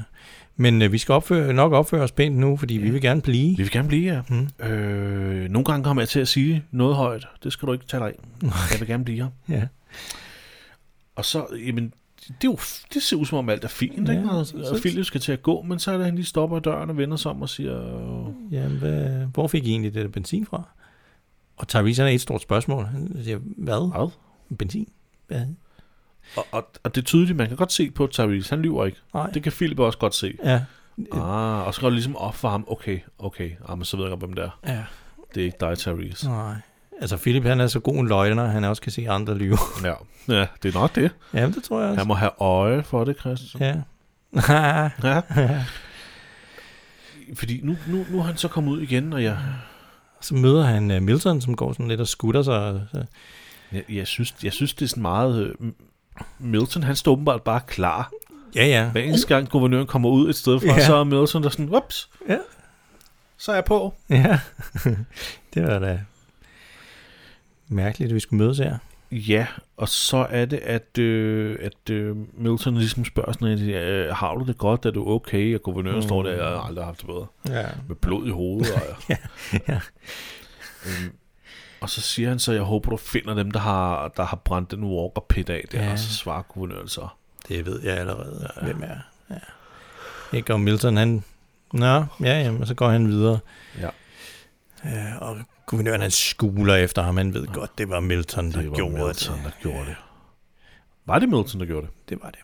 Men øh, vi skal opføre, nok opføre os pænt nu, fordi ja. vi vil gerne blive.
Vi vil gerne blive her. Mm. Øh, nogle gange kommer jeg til at sige noget højt. Det skal du ikke tage dig af. Jeg vil gerne blive her.
Ja.
Og så, jamen, det, er jo, det ser ud som om alt er fint, ja,
Ja,
ikke? Og,
så-
og Philip skal til at gå, men så er det, han lige stopper i døren og vender sig om og siger, øh,
Jamen, hvad, hvor fik I egentlig det der benzin fra? Og Tyrese han er et stort spørgsmål. Han siger, hvad?
hvad?
Benzin? Hvad?
Og, og, og det er tydeligt, man kan godt se på Tyrese, han lyver ikke.
Nej.
Det kan Philip også godt se.
Ja.
Ah, og så går det ligesom op for ham, okay, okay, ah, men så ved jeg godt, hvem det er.
ja.
Det er ikke dig, Tyrese.
Nej. Altså, Philip han er så god en løgner, han også kan se andre lyve.
Ja. ja, det er nok det.
Jamen, det tror jeg også.
Han må have øje for det, Christian.
Ja.
Ja. Fordi nu, nu, nu er han så kommet ud igen, og jeg,
så møder han øh, Milton, som går sådan lidt og skutter sig. og Så,
jeg, jeg, synes, jeg synes, det er sådan meget... Øh, Milton, han står åbenbart bare klar.
ja, ja.
Hver eneste gang guvernøren kommer ud et sted fra,
Ja.
yeah. så er Milton der sådan, whoops,
Ja.
så er jeg på.
Ja, det var da mærkeligt, at vi skulle mødes her.
Ja, og så er det, at, øh, at øh, Milton ligesom spørger sådan, lidt, øh, har du det godt, er du okay? Og guvernøren mm. står der, jeg har aldrig haft det bedre.
Ja.
Med blod i hovedet. Og, ja.
ja.
øhm, og så siger han så, jeg håber, du finder dem, der har, der har brændt den Walker Pit af der. Ja.
Ja.
Og så svarer guvernøren så,
Det ved jeg allerede, ja. hvem er. Ja. Ikke om Milton, han... Nå, ja, jamen, og så går han videre.
Ja.
Ja, og guvernøren, han skuler efter ham. Han ved godt, det var Milton, der
det var
gjorde
Milton,
det.
der gjorde det. Var det Milton, der gjorde det?
Det var det.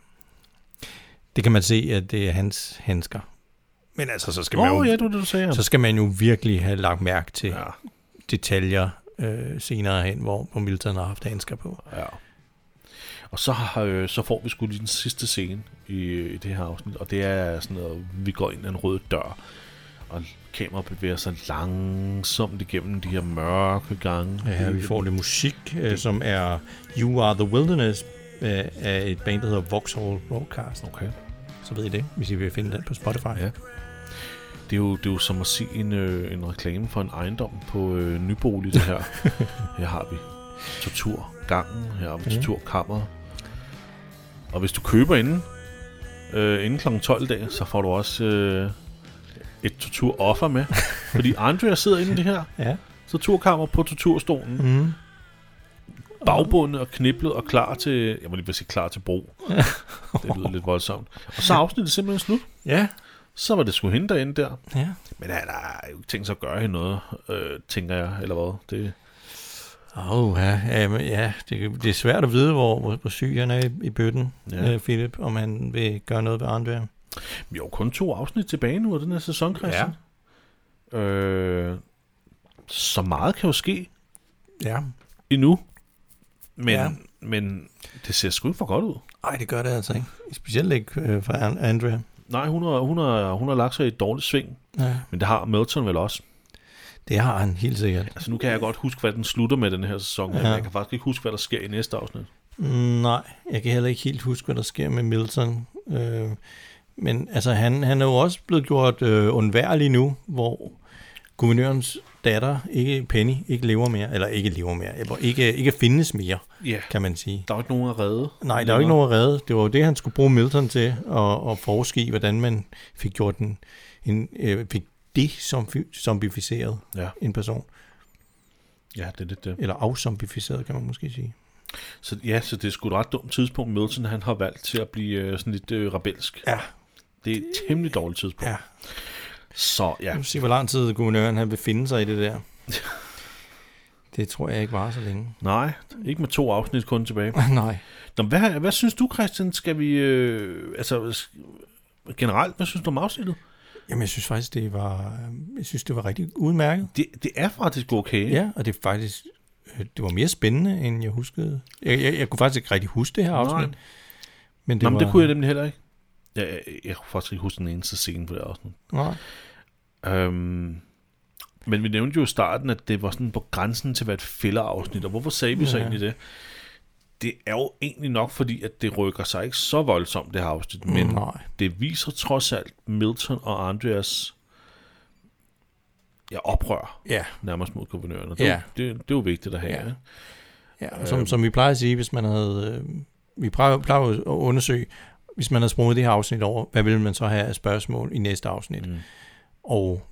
Det kan man se, at det er hans handsker. Men altså, så skal,
Åh,
man,
oh,
jo,
ja, det var det, du sagde.
så skal man jo virkelig have lagt mærke til ja.
ja,
detaljer øh, senere hen, hvor, hvor Milton har haft handsker på.
ja. Og så, har, øh, så får vi sgu lige den sidste scene i, i det her afsnit, og det er sådan noget, vi går ind ad en rød dør, og kameraet bevæger sig langsomt igennem de her mørke gange.
Ja, vi får lidt musik, øh, som er You Are The Wilderness øh, af et band, der hedder Vauxhall Broadcast.
Okay.
Så ved I det, hvis I vil finde den på Spotify.
Ja. Det er, jo, det er jo som at se en, øh, en reklame for en ejendom på øh, Nybolig, det her. her har vi torturgangen, her har vi torturkammeret. Og hvis du køber inden, øh, inden kl. 12 i dag, så får du også øh, et torturoffer med. Fordi Andrea sidder inde i det her
ja.
torturkammer på torturstolen,
Mm.
bagbundet og kniblet og klar til, jeg må lige vil sige klar til brug. Det lyder lidt voldsomt. Og så er afsnittet simpelthen slut.
Ja.
Så var det sgu hende derinde der.
ja.
Men han har jo ikke tænkt sig at gøre hende noget, øh, tænker jeg, eller hvad. Det,
Åh, oh, ja, ja, men ja. Det, det er svært at vide, hvor, hvor, hvor syg han er i, i bøtten,
Ja.
ja. øh, Philip, om han vil gøre noget ved Arndvær.
vi har jo kun to afsnit tilbage nu af den her sæson, Christian. Ja. Øh, så meget kan jo ske
Ja.
endnu. Men, ja.
Ja.
men det ser sgu ikke for godt ud.
Ej, det gør det altså ikke. Specielt ikke øh, for Andrea.
Nej, hun har, hun, har, hun har lagt sig i et dårligt sving,
Ja.
men det har Melton vel også.
Det har han helt sikkert.
Altså nu kan jeg godt huske, hvad den slutter med den her sæson, ja. men
Ja.
jeg kan faktisk ikke huske, hvad der sker i næste afsnit.
Mm, Nej, jeg kan heller ikke helt huske, hvad der sker med Milton. Øh, men altså, han, han er jo også blevet gjort øh, undværlig nu, hvor guvernørens datter, ikke Penny, ikke lever mere, eller ikke lever mere, eller ikke, ikke findes mere,
Ja,
kan man sige.
der er jo ikke nogen at redde.
Nej, der er jo ikke nogen at redde. Det var jo det, han skulle bruge Milton til, at, at forske i, hvordan man fik gjort den, en, øh, fik det zombificeret
Ja.
en person,
Ja, det er lidt det.
eller afzombificeret, kan man måske sige.
Så, ja, så det er sgu et ret dumt tidspunkt, Milton han har valgt til at blive øh, sådan lidt øh, rebelsk.
Ja,
Det er et temmelig dårligt tidspunkt.
ja.
Så ja,
Nu se, hvor lang tid guvernøren han vil finde sig i det der. Det tror jeg ikke var så længe.
nej, ikke med to afsnit kun tilbage.
Nej.
Nå, hvad, hvad synes du, Christian? Skal vi... Øh, altså, s- generelt, hvad synes du om afsnittet?
Jamen, jeg synes faktisk, det var, jeg synes, det var rigtig udmærket.
Det, det er faktisk okay.
Ja, og det er faktisk, øh, det var mere spændende, end jeg huskede. Jeg, jeg, jeg kunne faktisk ikke rigtig huske det her
Nej.
afsnit. Men det,
Det Nå,
var,
men det kunne jeg nemlig heller ikke. Jeg, jeg, jeg kunne faktisk ikke huske den eneste scene på det afsnit.
Nej.
Øhm, men vi nævnte jo i starten, at det var sådan på grænsen til at være et fællerafsnit, og hvorfor sagde vi så
Ja.
egentlig det? Det er jo egentlig nok fordi, at det rykker sig ikke så voldsomt, det her afsnit, men
Men, Mm, Nej.
det viser trods alt Milton og Andreas ja, oprør
Ja,
nærmest mod guvernøren, og det,
Ja.
ja. det, det er jo vigtigt at have.
Ja.
Ja.
ja
Øh.
som, som vi plejer at sige, hvis man havde, øh, vi plejer, plejer jo at undersøge, hvis man havde sprunget det her afsnit over, hvad ville man så have af spørgsmål i næste afsnit?
Mm.
Og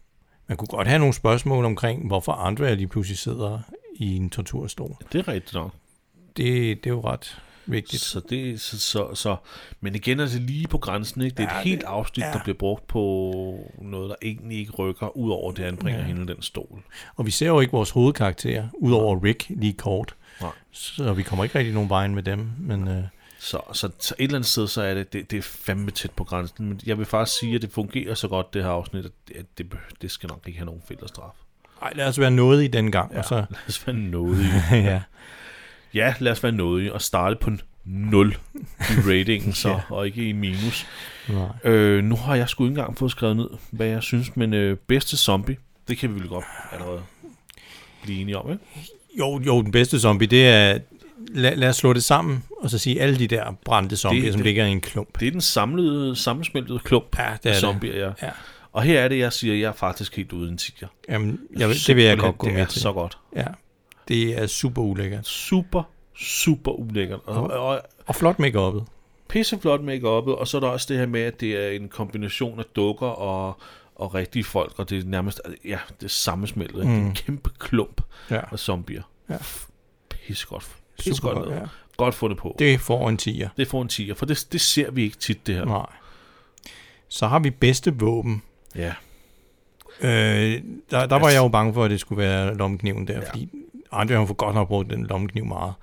man kunne godt have nogle spørgsmål omkring, hvorfor andre lige pludselig sidder i en torturstol.
Det er rigtigt nok.
Det, det er jo ret vigtigt.
Så det, så, så, så, men igen er det lige på grænsen, ikke? Det er ja,
Ja,
et helt
det-
afsnit, ja.
ja.
der bliver brugt på noget, der egentlig ikke rykker, ud over det anbringer ja.
Ja.
hende den stol.
Og vi ser jo ikke vores hovedkarakterer, udover Rick lige kort.
Nej.
Så vi kommer ikke rigtig nogen vejen med dem. Men øh,
Så, så, så et eller andet sted, så er det, det, det er fandme tæt på grænsen. Men jeg vil faktisk sige, at det fungerer så godt, det her afsnit, at det, at det, behø- det skal nok ikke have nogen fælderstraf.
ej, lad os være noget i den gang. Ja. Og så,
Lad os være nådige.
ja.
Ja, lad os være nådige og starte på en 0 i ratingen så, ja. og ikke i minus.
Nej.
Øh, nu har jeg sgu ikke engang fået skrevet ned, hvad jeg synes, men øh, bedste zombie, det kan vi vel godt allerede blive enige om, ikke?
Jo, jo, den bedste zombie, det er... Lad, lad os slå det sammen, og så sige alle de der brændte zombier,
Det-
det, som
det-
ligger i en klump.
Det er den samlede, sammensmeltede klump
Ja, det
af
er det.
zombier, ja.
Ja.
Og her er det, jeg siger, at jeg er faktisk helt uden tiger.
Jamen, jeg, vil- det vil jeg
Simpelthen,
godt gå
det
med
er
til.
så godt.
Ja. Det er super ulækkert.
Super, super ulækkert. Og,
Ja.
og
Og flot make -up'et.
pisseflot make og så er der også det her med, at det er en kombination af dukker og, og rigtige folk, og det er nærmest, ja, det er sammensmeltet. Mm. Det er en
Mm.
kæmpe klump
Ja.
af zombier.
Ja.
Pissegodt.
Super
Pissegodt
godt,
lavet.
ja.
Godt fundet på. Det,
Det får en 10'er.
det får en 10'er, for det, det ser vi ikke tit, det her.
Nej. Så har vi bedste våben.
Ja.
Øh, der, der var
Altså-
jeg jo bange for, at det skulle være lommekniven der,
Ja.
ja. fordi Andre har for godt nok brugt den lommekniv meget.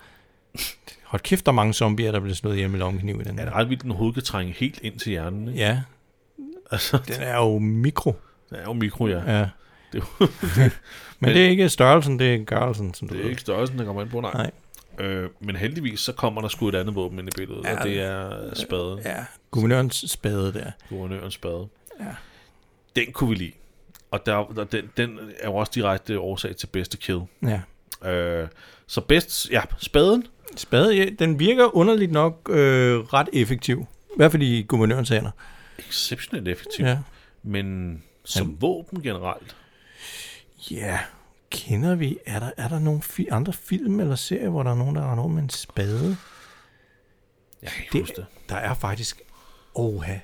Hold kæft, der er mange zombier, der bliver slået ihjel med lommekniv i den
ja, det er
der.
ret vildt, at den hovedet kan trænge helt ind til hjernen. Ikke?
Ja,
Altså,
den er jo mikro.
det er jo mikro, ja.
Ja.
Det er
Men
Men-
det er ikke størrelsen, Øh. det er gørelsen, som du
Det er
ved.
ikke størrelsen, der kommer ind på, nej.
Nej.
Øh, men heldigvis, så kommer der sgu et andet våben ind i billedet, ja,
Ja,
og det er spaden, ja.
Ja, guvernørens spade der.
guvernørens spade.
Ja.
Den kunne vi lide. Og der, der, den, den er jo også direkte årsag til bedste kill.
Ja.
Øh, så bedst, ja, spaden,
Spade, ja, den virker underligt nok øh, ret effektiv. I hvert fald i guvernørens hænder.
exceptionelt effektiv, ja.
Ja.
men som ja. våben generelt,
Ja, kender vi, er der, er der nogle fi- andre film eller serier, hvor der er nogen, der render rundt med en spade?
jeg kan ikke huske
Det,
det.
der er faktisk, oha,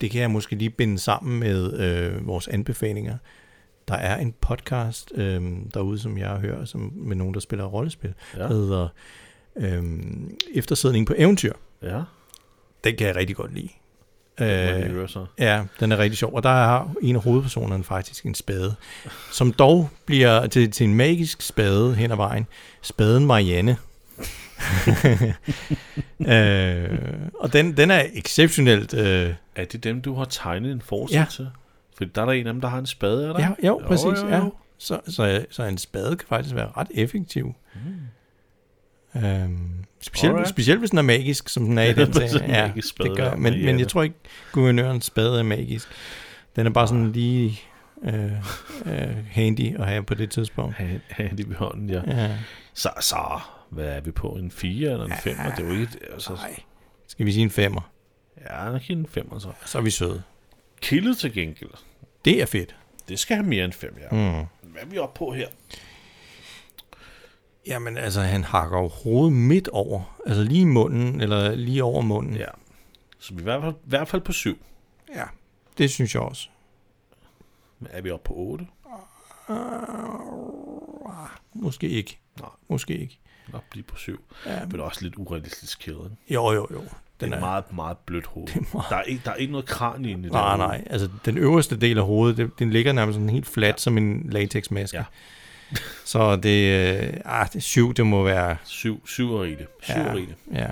det kan jeg måske lige binde sammen med øh, vores anbefalinger. Der er en podcast øh, derude, som jeg hører, som, med nogen, der spiller rollespil,
Ja.
ja. der hedder øh, Eftersidning på Eventyr.
Ja,
Den kan jeg rigtig godt lide.
øh,
Øh,
hører så.
Ja, den er rigtig sjov. Og der har en af hovedpersonerne faktisk en spade, som dog bliver til, til en magisk spade hen ad vejen. Spaden Marianne. øh, og den, den er exceptionelt... Øh,
Er det dem, du har tegnet en forside ja.
Ja.
til? For der er der en af dem, der har en spade, er der?
ja, jo,
Jo,
præcis.
jo,
Ja.
jo.
Så, så, så en spade kan faktisk være ret effektiv. Mm. Øhm, Specielt,
Alright.
specielt hvis den er magisk, som den er i
Ja,
den
sådan
serie.
en
Ja,
magisk spade
det gør,
der,
men, men
Marianne.
jeg tror ikke, guvernørens spade er magisk. Den er bare sådan lige øh, øh, handy at have på det tidspunkt.
Ha- Handy ved hånden, ja.
Ja.
Så, så, hvad er vi på? En 4 eller en 5? Det er jo ikke... et- Altså,
Nej. Skal vi sige en femmer?
ja, nok en 5 så.
Så er vi søde.
Killet til gengæld.
Det er fedt.
Det skal have mere end 5, ja.
Mm.
Hvad er vi oppe på her?
Jamen altså, han hakker jo hovedet midt over. Altså lige i munden, eller lige over munden.
Ja. Så vi er i hvert fald, i hvert fald på 7.
ja. Det synes jeg også.
Er vi oppe på 8?
Måske ikke.
Nej.
Måske ikke.
Op lige på 7. Ja. Men også lidt urealistisk kæde. ikke?
Jo, jo, jo.
Det
Den
er
er,
et meget, meget blødt hoved.
er meget-
Der, er ikke, der er ikke noget kran i den.
Nej, nej. Altså, den øverste del af hovedet, det, den ligger nærmest sådan helt flat ja. som en latexmaske.
Ja.
Ja. så det, øh, ah, det er syv, det må være.
7, 7 er i det. 7 ja. er i det.
ja.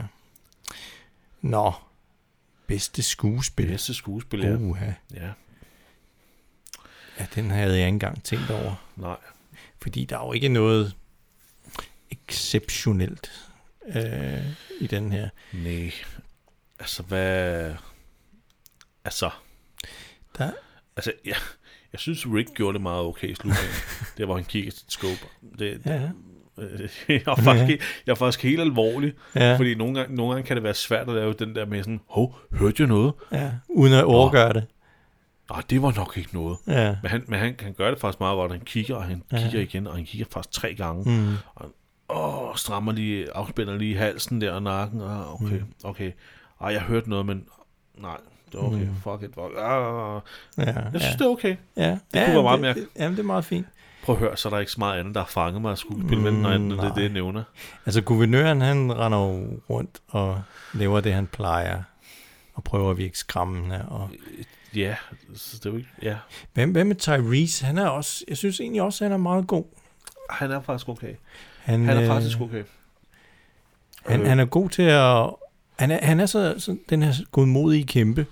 Nå. Bedste skuespil.
Bedste skuespiller. Uh.
Uha.
Ja,
Ja, den havde jeg ikke engang tænkt over.
nej.
Fordi der er jo ikke noget exceptionelt øh, i den her.
Nej. Altså, hvad... Altså...
Der,
Altså, ja, jeg synes, Rick gjorde det meget okay i slutningen. der, hvor han kigger til scope. Det, ja.
ja,
jeg, er faktisk, he- jeg er faktisk helt alvorlig,
ja,
fordi nogle gange, nogle gange kan det være svært at lave den der med sådan, hov, hørte jeg noget?
ja, uden at overgøre det.
Nej, det var nok ikke noget.
Ja.
Men han, men han, han gør det faktisk meget godt. Han kigger, og han
Ja.
kigger igen, og han kigger faktisk tre gange.
Mm.
Åh, strammer lige, afspænder lige halsen der og nakken. Ah, okay, mm. okay. Ej, jeg hørte noget, men nej, det var okay. Mm. Fuck it. fuck- Ah,
Ja,
jeg synes,
ja.
det er okay.
Ja, det
kunne
ja,
være meget
det-
mere-
det- Jamen, det er meget fint.
Prøv at høre, så er der ikke så meget andet, der har fanget mig af skuespil, mm, når andet, det er det,
nej.
jeg nævner.
Altså, guvernøren, han render jo rundt og laver det, han plejer, og prøver at virke skræmmende. Og...
Ja, så det er jo ikke... Ja.
Hvem, hvem med Tyrese? Han er også, jeg synes egentlig også, han er meget god.
Han er faktisk okay.
Han,
Han er
øh,
faktisk okay.
han, han er god til at... Han er, han er så, så den her godmodige kæmpe,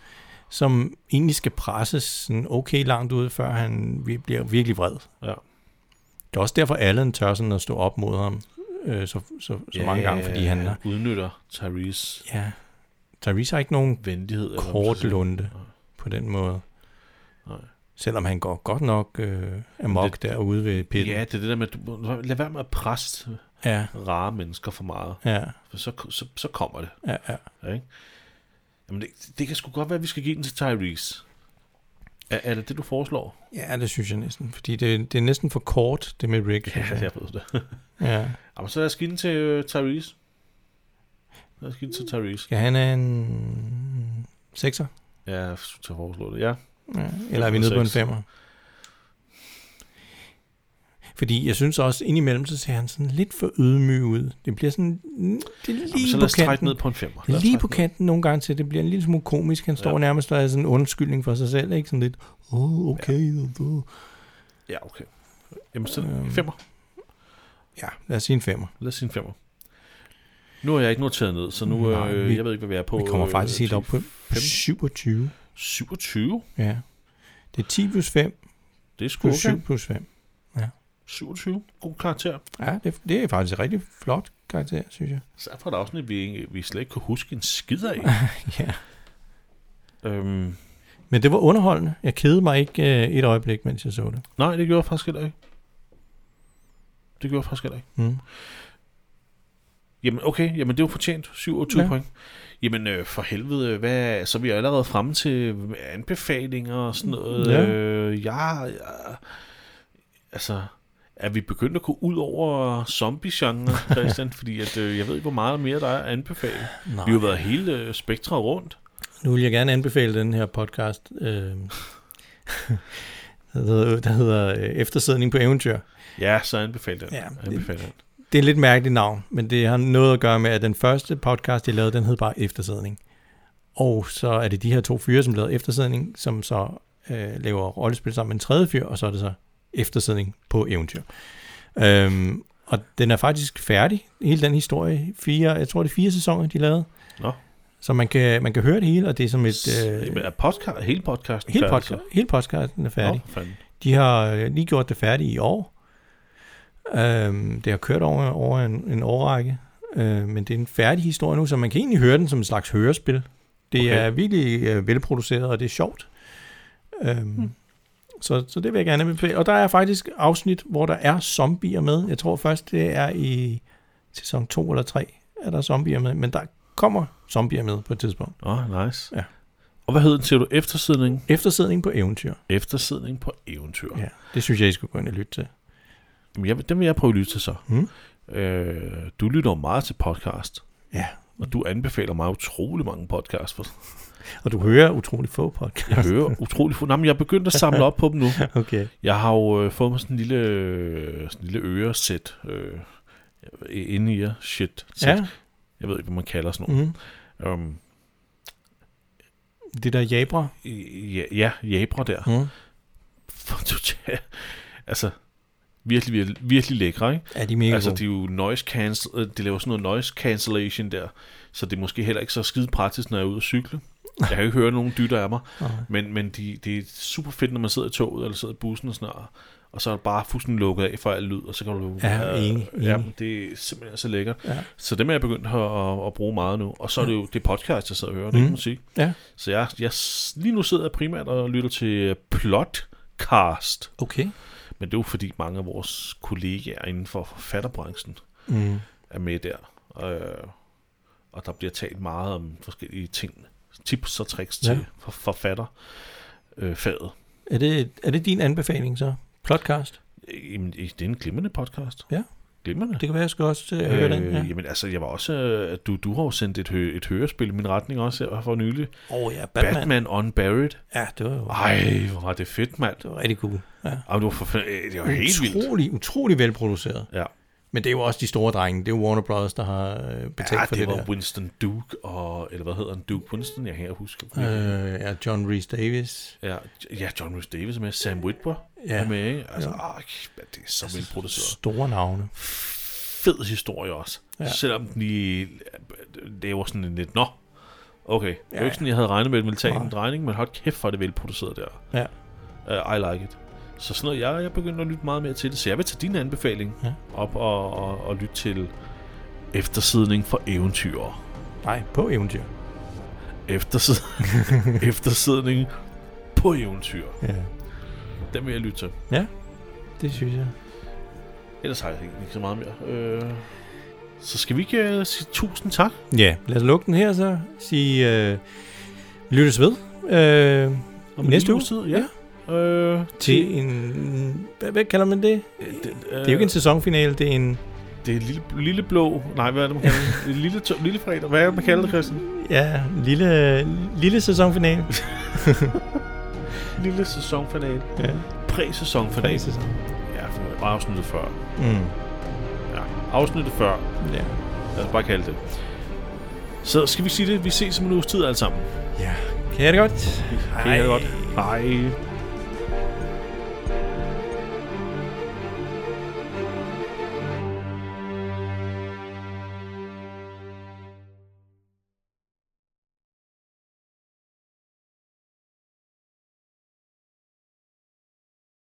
som egentlig skal presses sådan okay langt ud, før han vi- bliver virkelig vred.
Ja.
Det er også derfor, Allen tør sådan at stå op mod ham øh, så, så, så
Ja,
mange gange, fordi han er...
udnytter Tyrese
Ja. Tyrese har ikke nogen
venlighed. eller hvad man
kort
skal sige.
lunde
Nej.
på den måde.
Nej.
Selvom han går godt nok øh, amok det, derude ved pitten.
Ja, det er det der med, at du, lad være med at presse
ja,
rare mennesker for meget,
ja,
for så, så, så kommer det.
ja, ja.
Ikke? Jamen, det, det kan sgu godt være, at vi skal give den til Tyrese. Er, er det det, du foreslår?
Ja, det synes jeg næsten. Fordi det, det er næsten for kort, det med Rick. synes jeg.
jeg ved det.
ja.
Jamen, så lad os give den til øh, Tyrese. Lad os give den til Tyrese.
Skal han have en sekser?
Ja, jeg synes, jeg foreslår det. Ja,
Ja. Eller er vi nede på en
Seks.
femmer? Fordi jeg synes også, indimellem så ser han sådan lidt for ydmyg ud. Det bliver sådan, det er lige
Jamen, så lad
på
os trække
kanten.
ned på en femmer.
Det
Lad
er
os
lige
trække
på
ned.
kanten nogle gange til, det bliver en lille smule komisk. Han står
Ja.
ja. nærmest og er sådan en undskyldning for sig selv, ikke? Sådan lidt, åh, oh, okay. Ja.
Ja, okay. Jamen, så en
Øhm.
femmer.
ja, lad os sige en femmer.
Lad os sige en femmer. Nu har jeg ikke noteret ned, så nu,
Nej,
øh,
vi-
jeg ved ikke, hvad vi er på.
Vi kommer
øh,
faktisk helt
til
op på
fem.
27.
27?
Ja. Det er 10 plus 5
Det er sgu
plus
okay.
7 plus 5.
27. God karakter.
Ja, det, det er faktisk et rigtig flot karakter, synes jeg.
Så er der et afsnit, vi, ikke- vi slet ikke kunne huske en skid af.
ja.
øhm,
Men det var underholdende. Jeg kedede mig ikke øh, et øjeblik, mens jeg så det.
nej, det gjorde jeg faktisk heller ikke. Det gjorde jeg faktisk heller ikke.
Mm.
Jamen, okay. Jamen, det er jo fortjent. 27 ja.
Ja.
point. Jamen, øh, for helvede, hvad, så er vi allerede fremme til anbefalinger og sådan noget.
Ja.
Øh, ja, ja, altså, er vi begyndt at gå ud over zombie-genren, Christian? Fordi at, øh, jeg ved ikke, hvor meget mere der er at anbefale. Nej. Vi har jo været hele øh, spektret rundt.
Nu vil jeg gerne anbefale den her podcast, øh, der hedder, der hedder øh, Eftersidning på eventyr.
Ja, så anbefale den.
Ja,
Ja, anbefale den.
Det er et lidt mærkeligt navn, men det har noget at gøre med, at den første podcast, jeg lavede, den hed bare Eftersidning. Og så er det de her to fyre, som lavede Eftersidning, som så øh, laver rollespil sammen med en tredje fyr, og så er det så Eftersidning på eventyr. Øhm, og den er faktisk færdig, hele den historie. Fire, jeg tror, det er fire sæsoner, de lavede.
Nå.
Så man kan, man kan høre det hele, og det er som et... Øh,
Jamen, er podcast, hele podcasten
hele,
færdig, så?
podcast, hele podcasten er færdig.
Nå, for fanden.
De har øh, lige gjort det færdigt i år. Øhm, det har kørt over, over en, en årrække. Øh, men det er en færdig historie nu, så man kan egentlig høre den som en slags hørespil. Det okay.
Okay.
er virkelig øh, velproduceret, og det er sjovt. Øhm, mm. så, så det vil jeg gerne anbefale. Og der er faktisk afsnit, hvor der er zombier med. Jeg tror først, det er i sæson 2 eller 3, er der zombier med. Men der kommer zombier med på et tidspunkt.
Åh, oh, nice.
Ja.
Og hvad hed den, siger du? Eftersidning?
Eftersidning på eventyr.
Eftersidning på eventyr.
Ja, det synes jeg, I skulle gå ind og lytte til.
Jamen, jeg, den vil jeg prøve at lytte til så.
Mm.
Øh, du lytter jo meget til podcast,
Ja,
og du anbefaler mig utrolig mange podcasts. For
og du hører utrolig få podcast.
jeg hører utrolig... Fu- Nej, men jeg er begyndt at samle op på dem nu.
Okay.
Jeg har jo øh, fået mig sådan en lille, øh, sådan en lille øresæt. Øh, inde i jer. Shit. Sæt.
Ja,
Jeg ved ikke, hvad man kalder sådan noget.
mm.
Mm. Um,
det der jabra.
ja, ja, jabra der.
Mm.
For totalt. Altså, virkelig, virkelig, virkelig lækre, ikke?
Er de mega
Altså,
altså,
det er jo noise cancel, øh, de laver sådan noget noise cancellation der, så det er måske heller ikke så skide praktisk, når jeg er ude at cykle. Jeg kan jo ikke høre nogen dytter af mig,
Nej.
men, men de, det er super fedt, når man sidder i toget eller sidder i bussen og sådan noget, og så er det bare fuldstændig lukket af for al lyd, og så kan du...
Ja,
øh,
enig,
ja,
enig.
det er simpelthen så lækkert.
Ja.
Så det er jeg begyndt at, at, at, bruge meget nu. Og så er det jo det podcast, jeg sidder og hører, det er
Mm.
ikke musik.
Ja.
Så jeg, jeg, s- lige nu sidder jeg primært og lytter til Plotcast,
Okay.
men det er jo fordi mange af vores kollegaer inden for forfatterbranchen
Mm.
er med der. Øh, og der bliver talt meget om forskellige ting, tips og tricks
Ja.
til for, forfatterfaget. Øh, faget.
Er, det, er det din anbefaling så? Plotcast?
Øh, jamen, øh, det er en glimrende podcast.
Ja.
Glimrende.
Det kan være, jeg skal også til at høre den.
Øh,
Ja.
Jamen altså, jeg var også, øh, at du, du har jo sendt et, hø, et hørespil i min retning også her for nylig.
oh, ja, Batman.
Batman, Batman Unburied.
Ja, det var jo
Ej, hvor var det fedt, mand.
det var rigtig cool. Ja.
Ej, det var, for, fa- øh, det var helt vildt.
Utrolig, utrolig velproduceret.
Ja.
Men det er jo også de store drenge. Det er jo Warner Brothers, der har øh, betalt
Ja,
for
Ah, det,
det,
var
der.
Winston Duke, og, eller hvad hedder han? Duke Winston, jeg her husker.
Øh, ja, John Rhys Davis.
Ja, ja, John Rhys Davis er med, Sam Witwer
Ja.
ja. Altså, er med, ikke? Altså, arg, det er så velproduceret.
Store navne.
Fed historie også.
Ja.
Ja. Selvom den lige øh, laver sådan en lidt, nå, okay. Ja. Det
Ja.
er jo ikke sådan, jeg havde regnet med, at den ville tage
Nej.
en drejning, men hold kæft, for det velproduceret der.
Ja.
Uh, I like it. Så sådan noget, jeg, jeg begynder at lytte meget mere til det, så jeg vil tage din anbefaling
Ja.
ja. op og, og, og lytte til Eftersidning for eventyrer.
Nej, på eventyr.
Eftersid Eftersidning på eventyr.
Ja.
Den vil jeg lytte til.
ja, det synes jeg.
Ellers har jeg egentlig ikke så meget mere. Øh, så skal vi ikke uh, sige tusind tak?
Ja, lad os lukke den her så. Sige, øh, vi lyttes ved. Øh,
Om
I
en lille
næste uge?
uges Tid, ja. Øh,
til en... Hvad, hvad kalder man det?
øh, det, øh,
Det er jo ikke en sæsonfinale, det er en...
Det er lille, lille blå... Nej, hvad er det, man kalder det? lille, to, lille fredag. Hvad er det, man kalder det, Christian?
Ja, en lille, lille sæsonfinale.
Lille sæsonfinale.
Ja,
Præ-sæsonfinale.
præsæson.
Ja, for afsnittet før.
Mm.
Ja, afsnittet før.
Ja.
Lad os bare kalde det. Så skal vi sige det. Vi ses om en uges tid alle sammen.
ja. Kan jeg det godt?
Det er godt. Hej.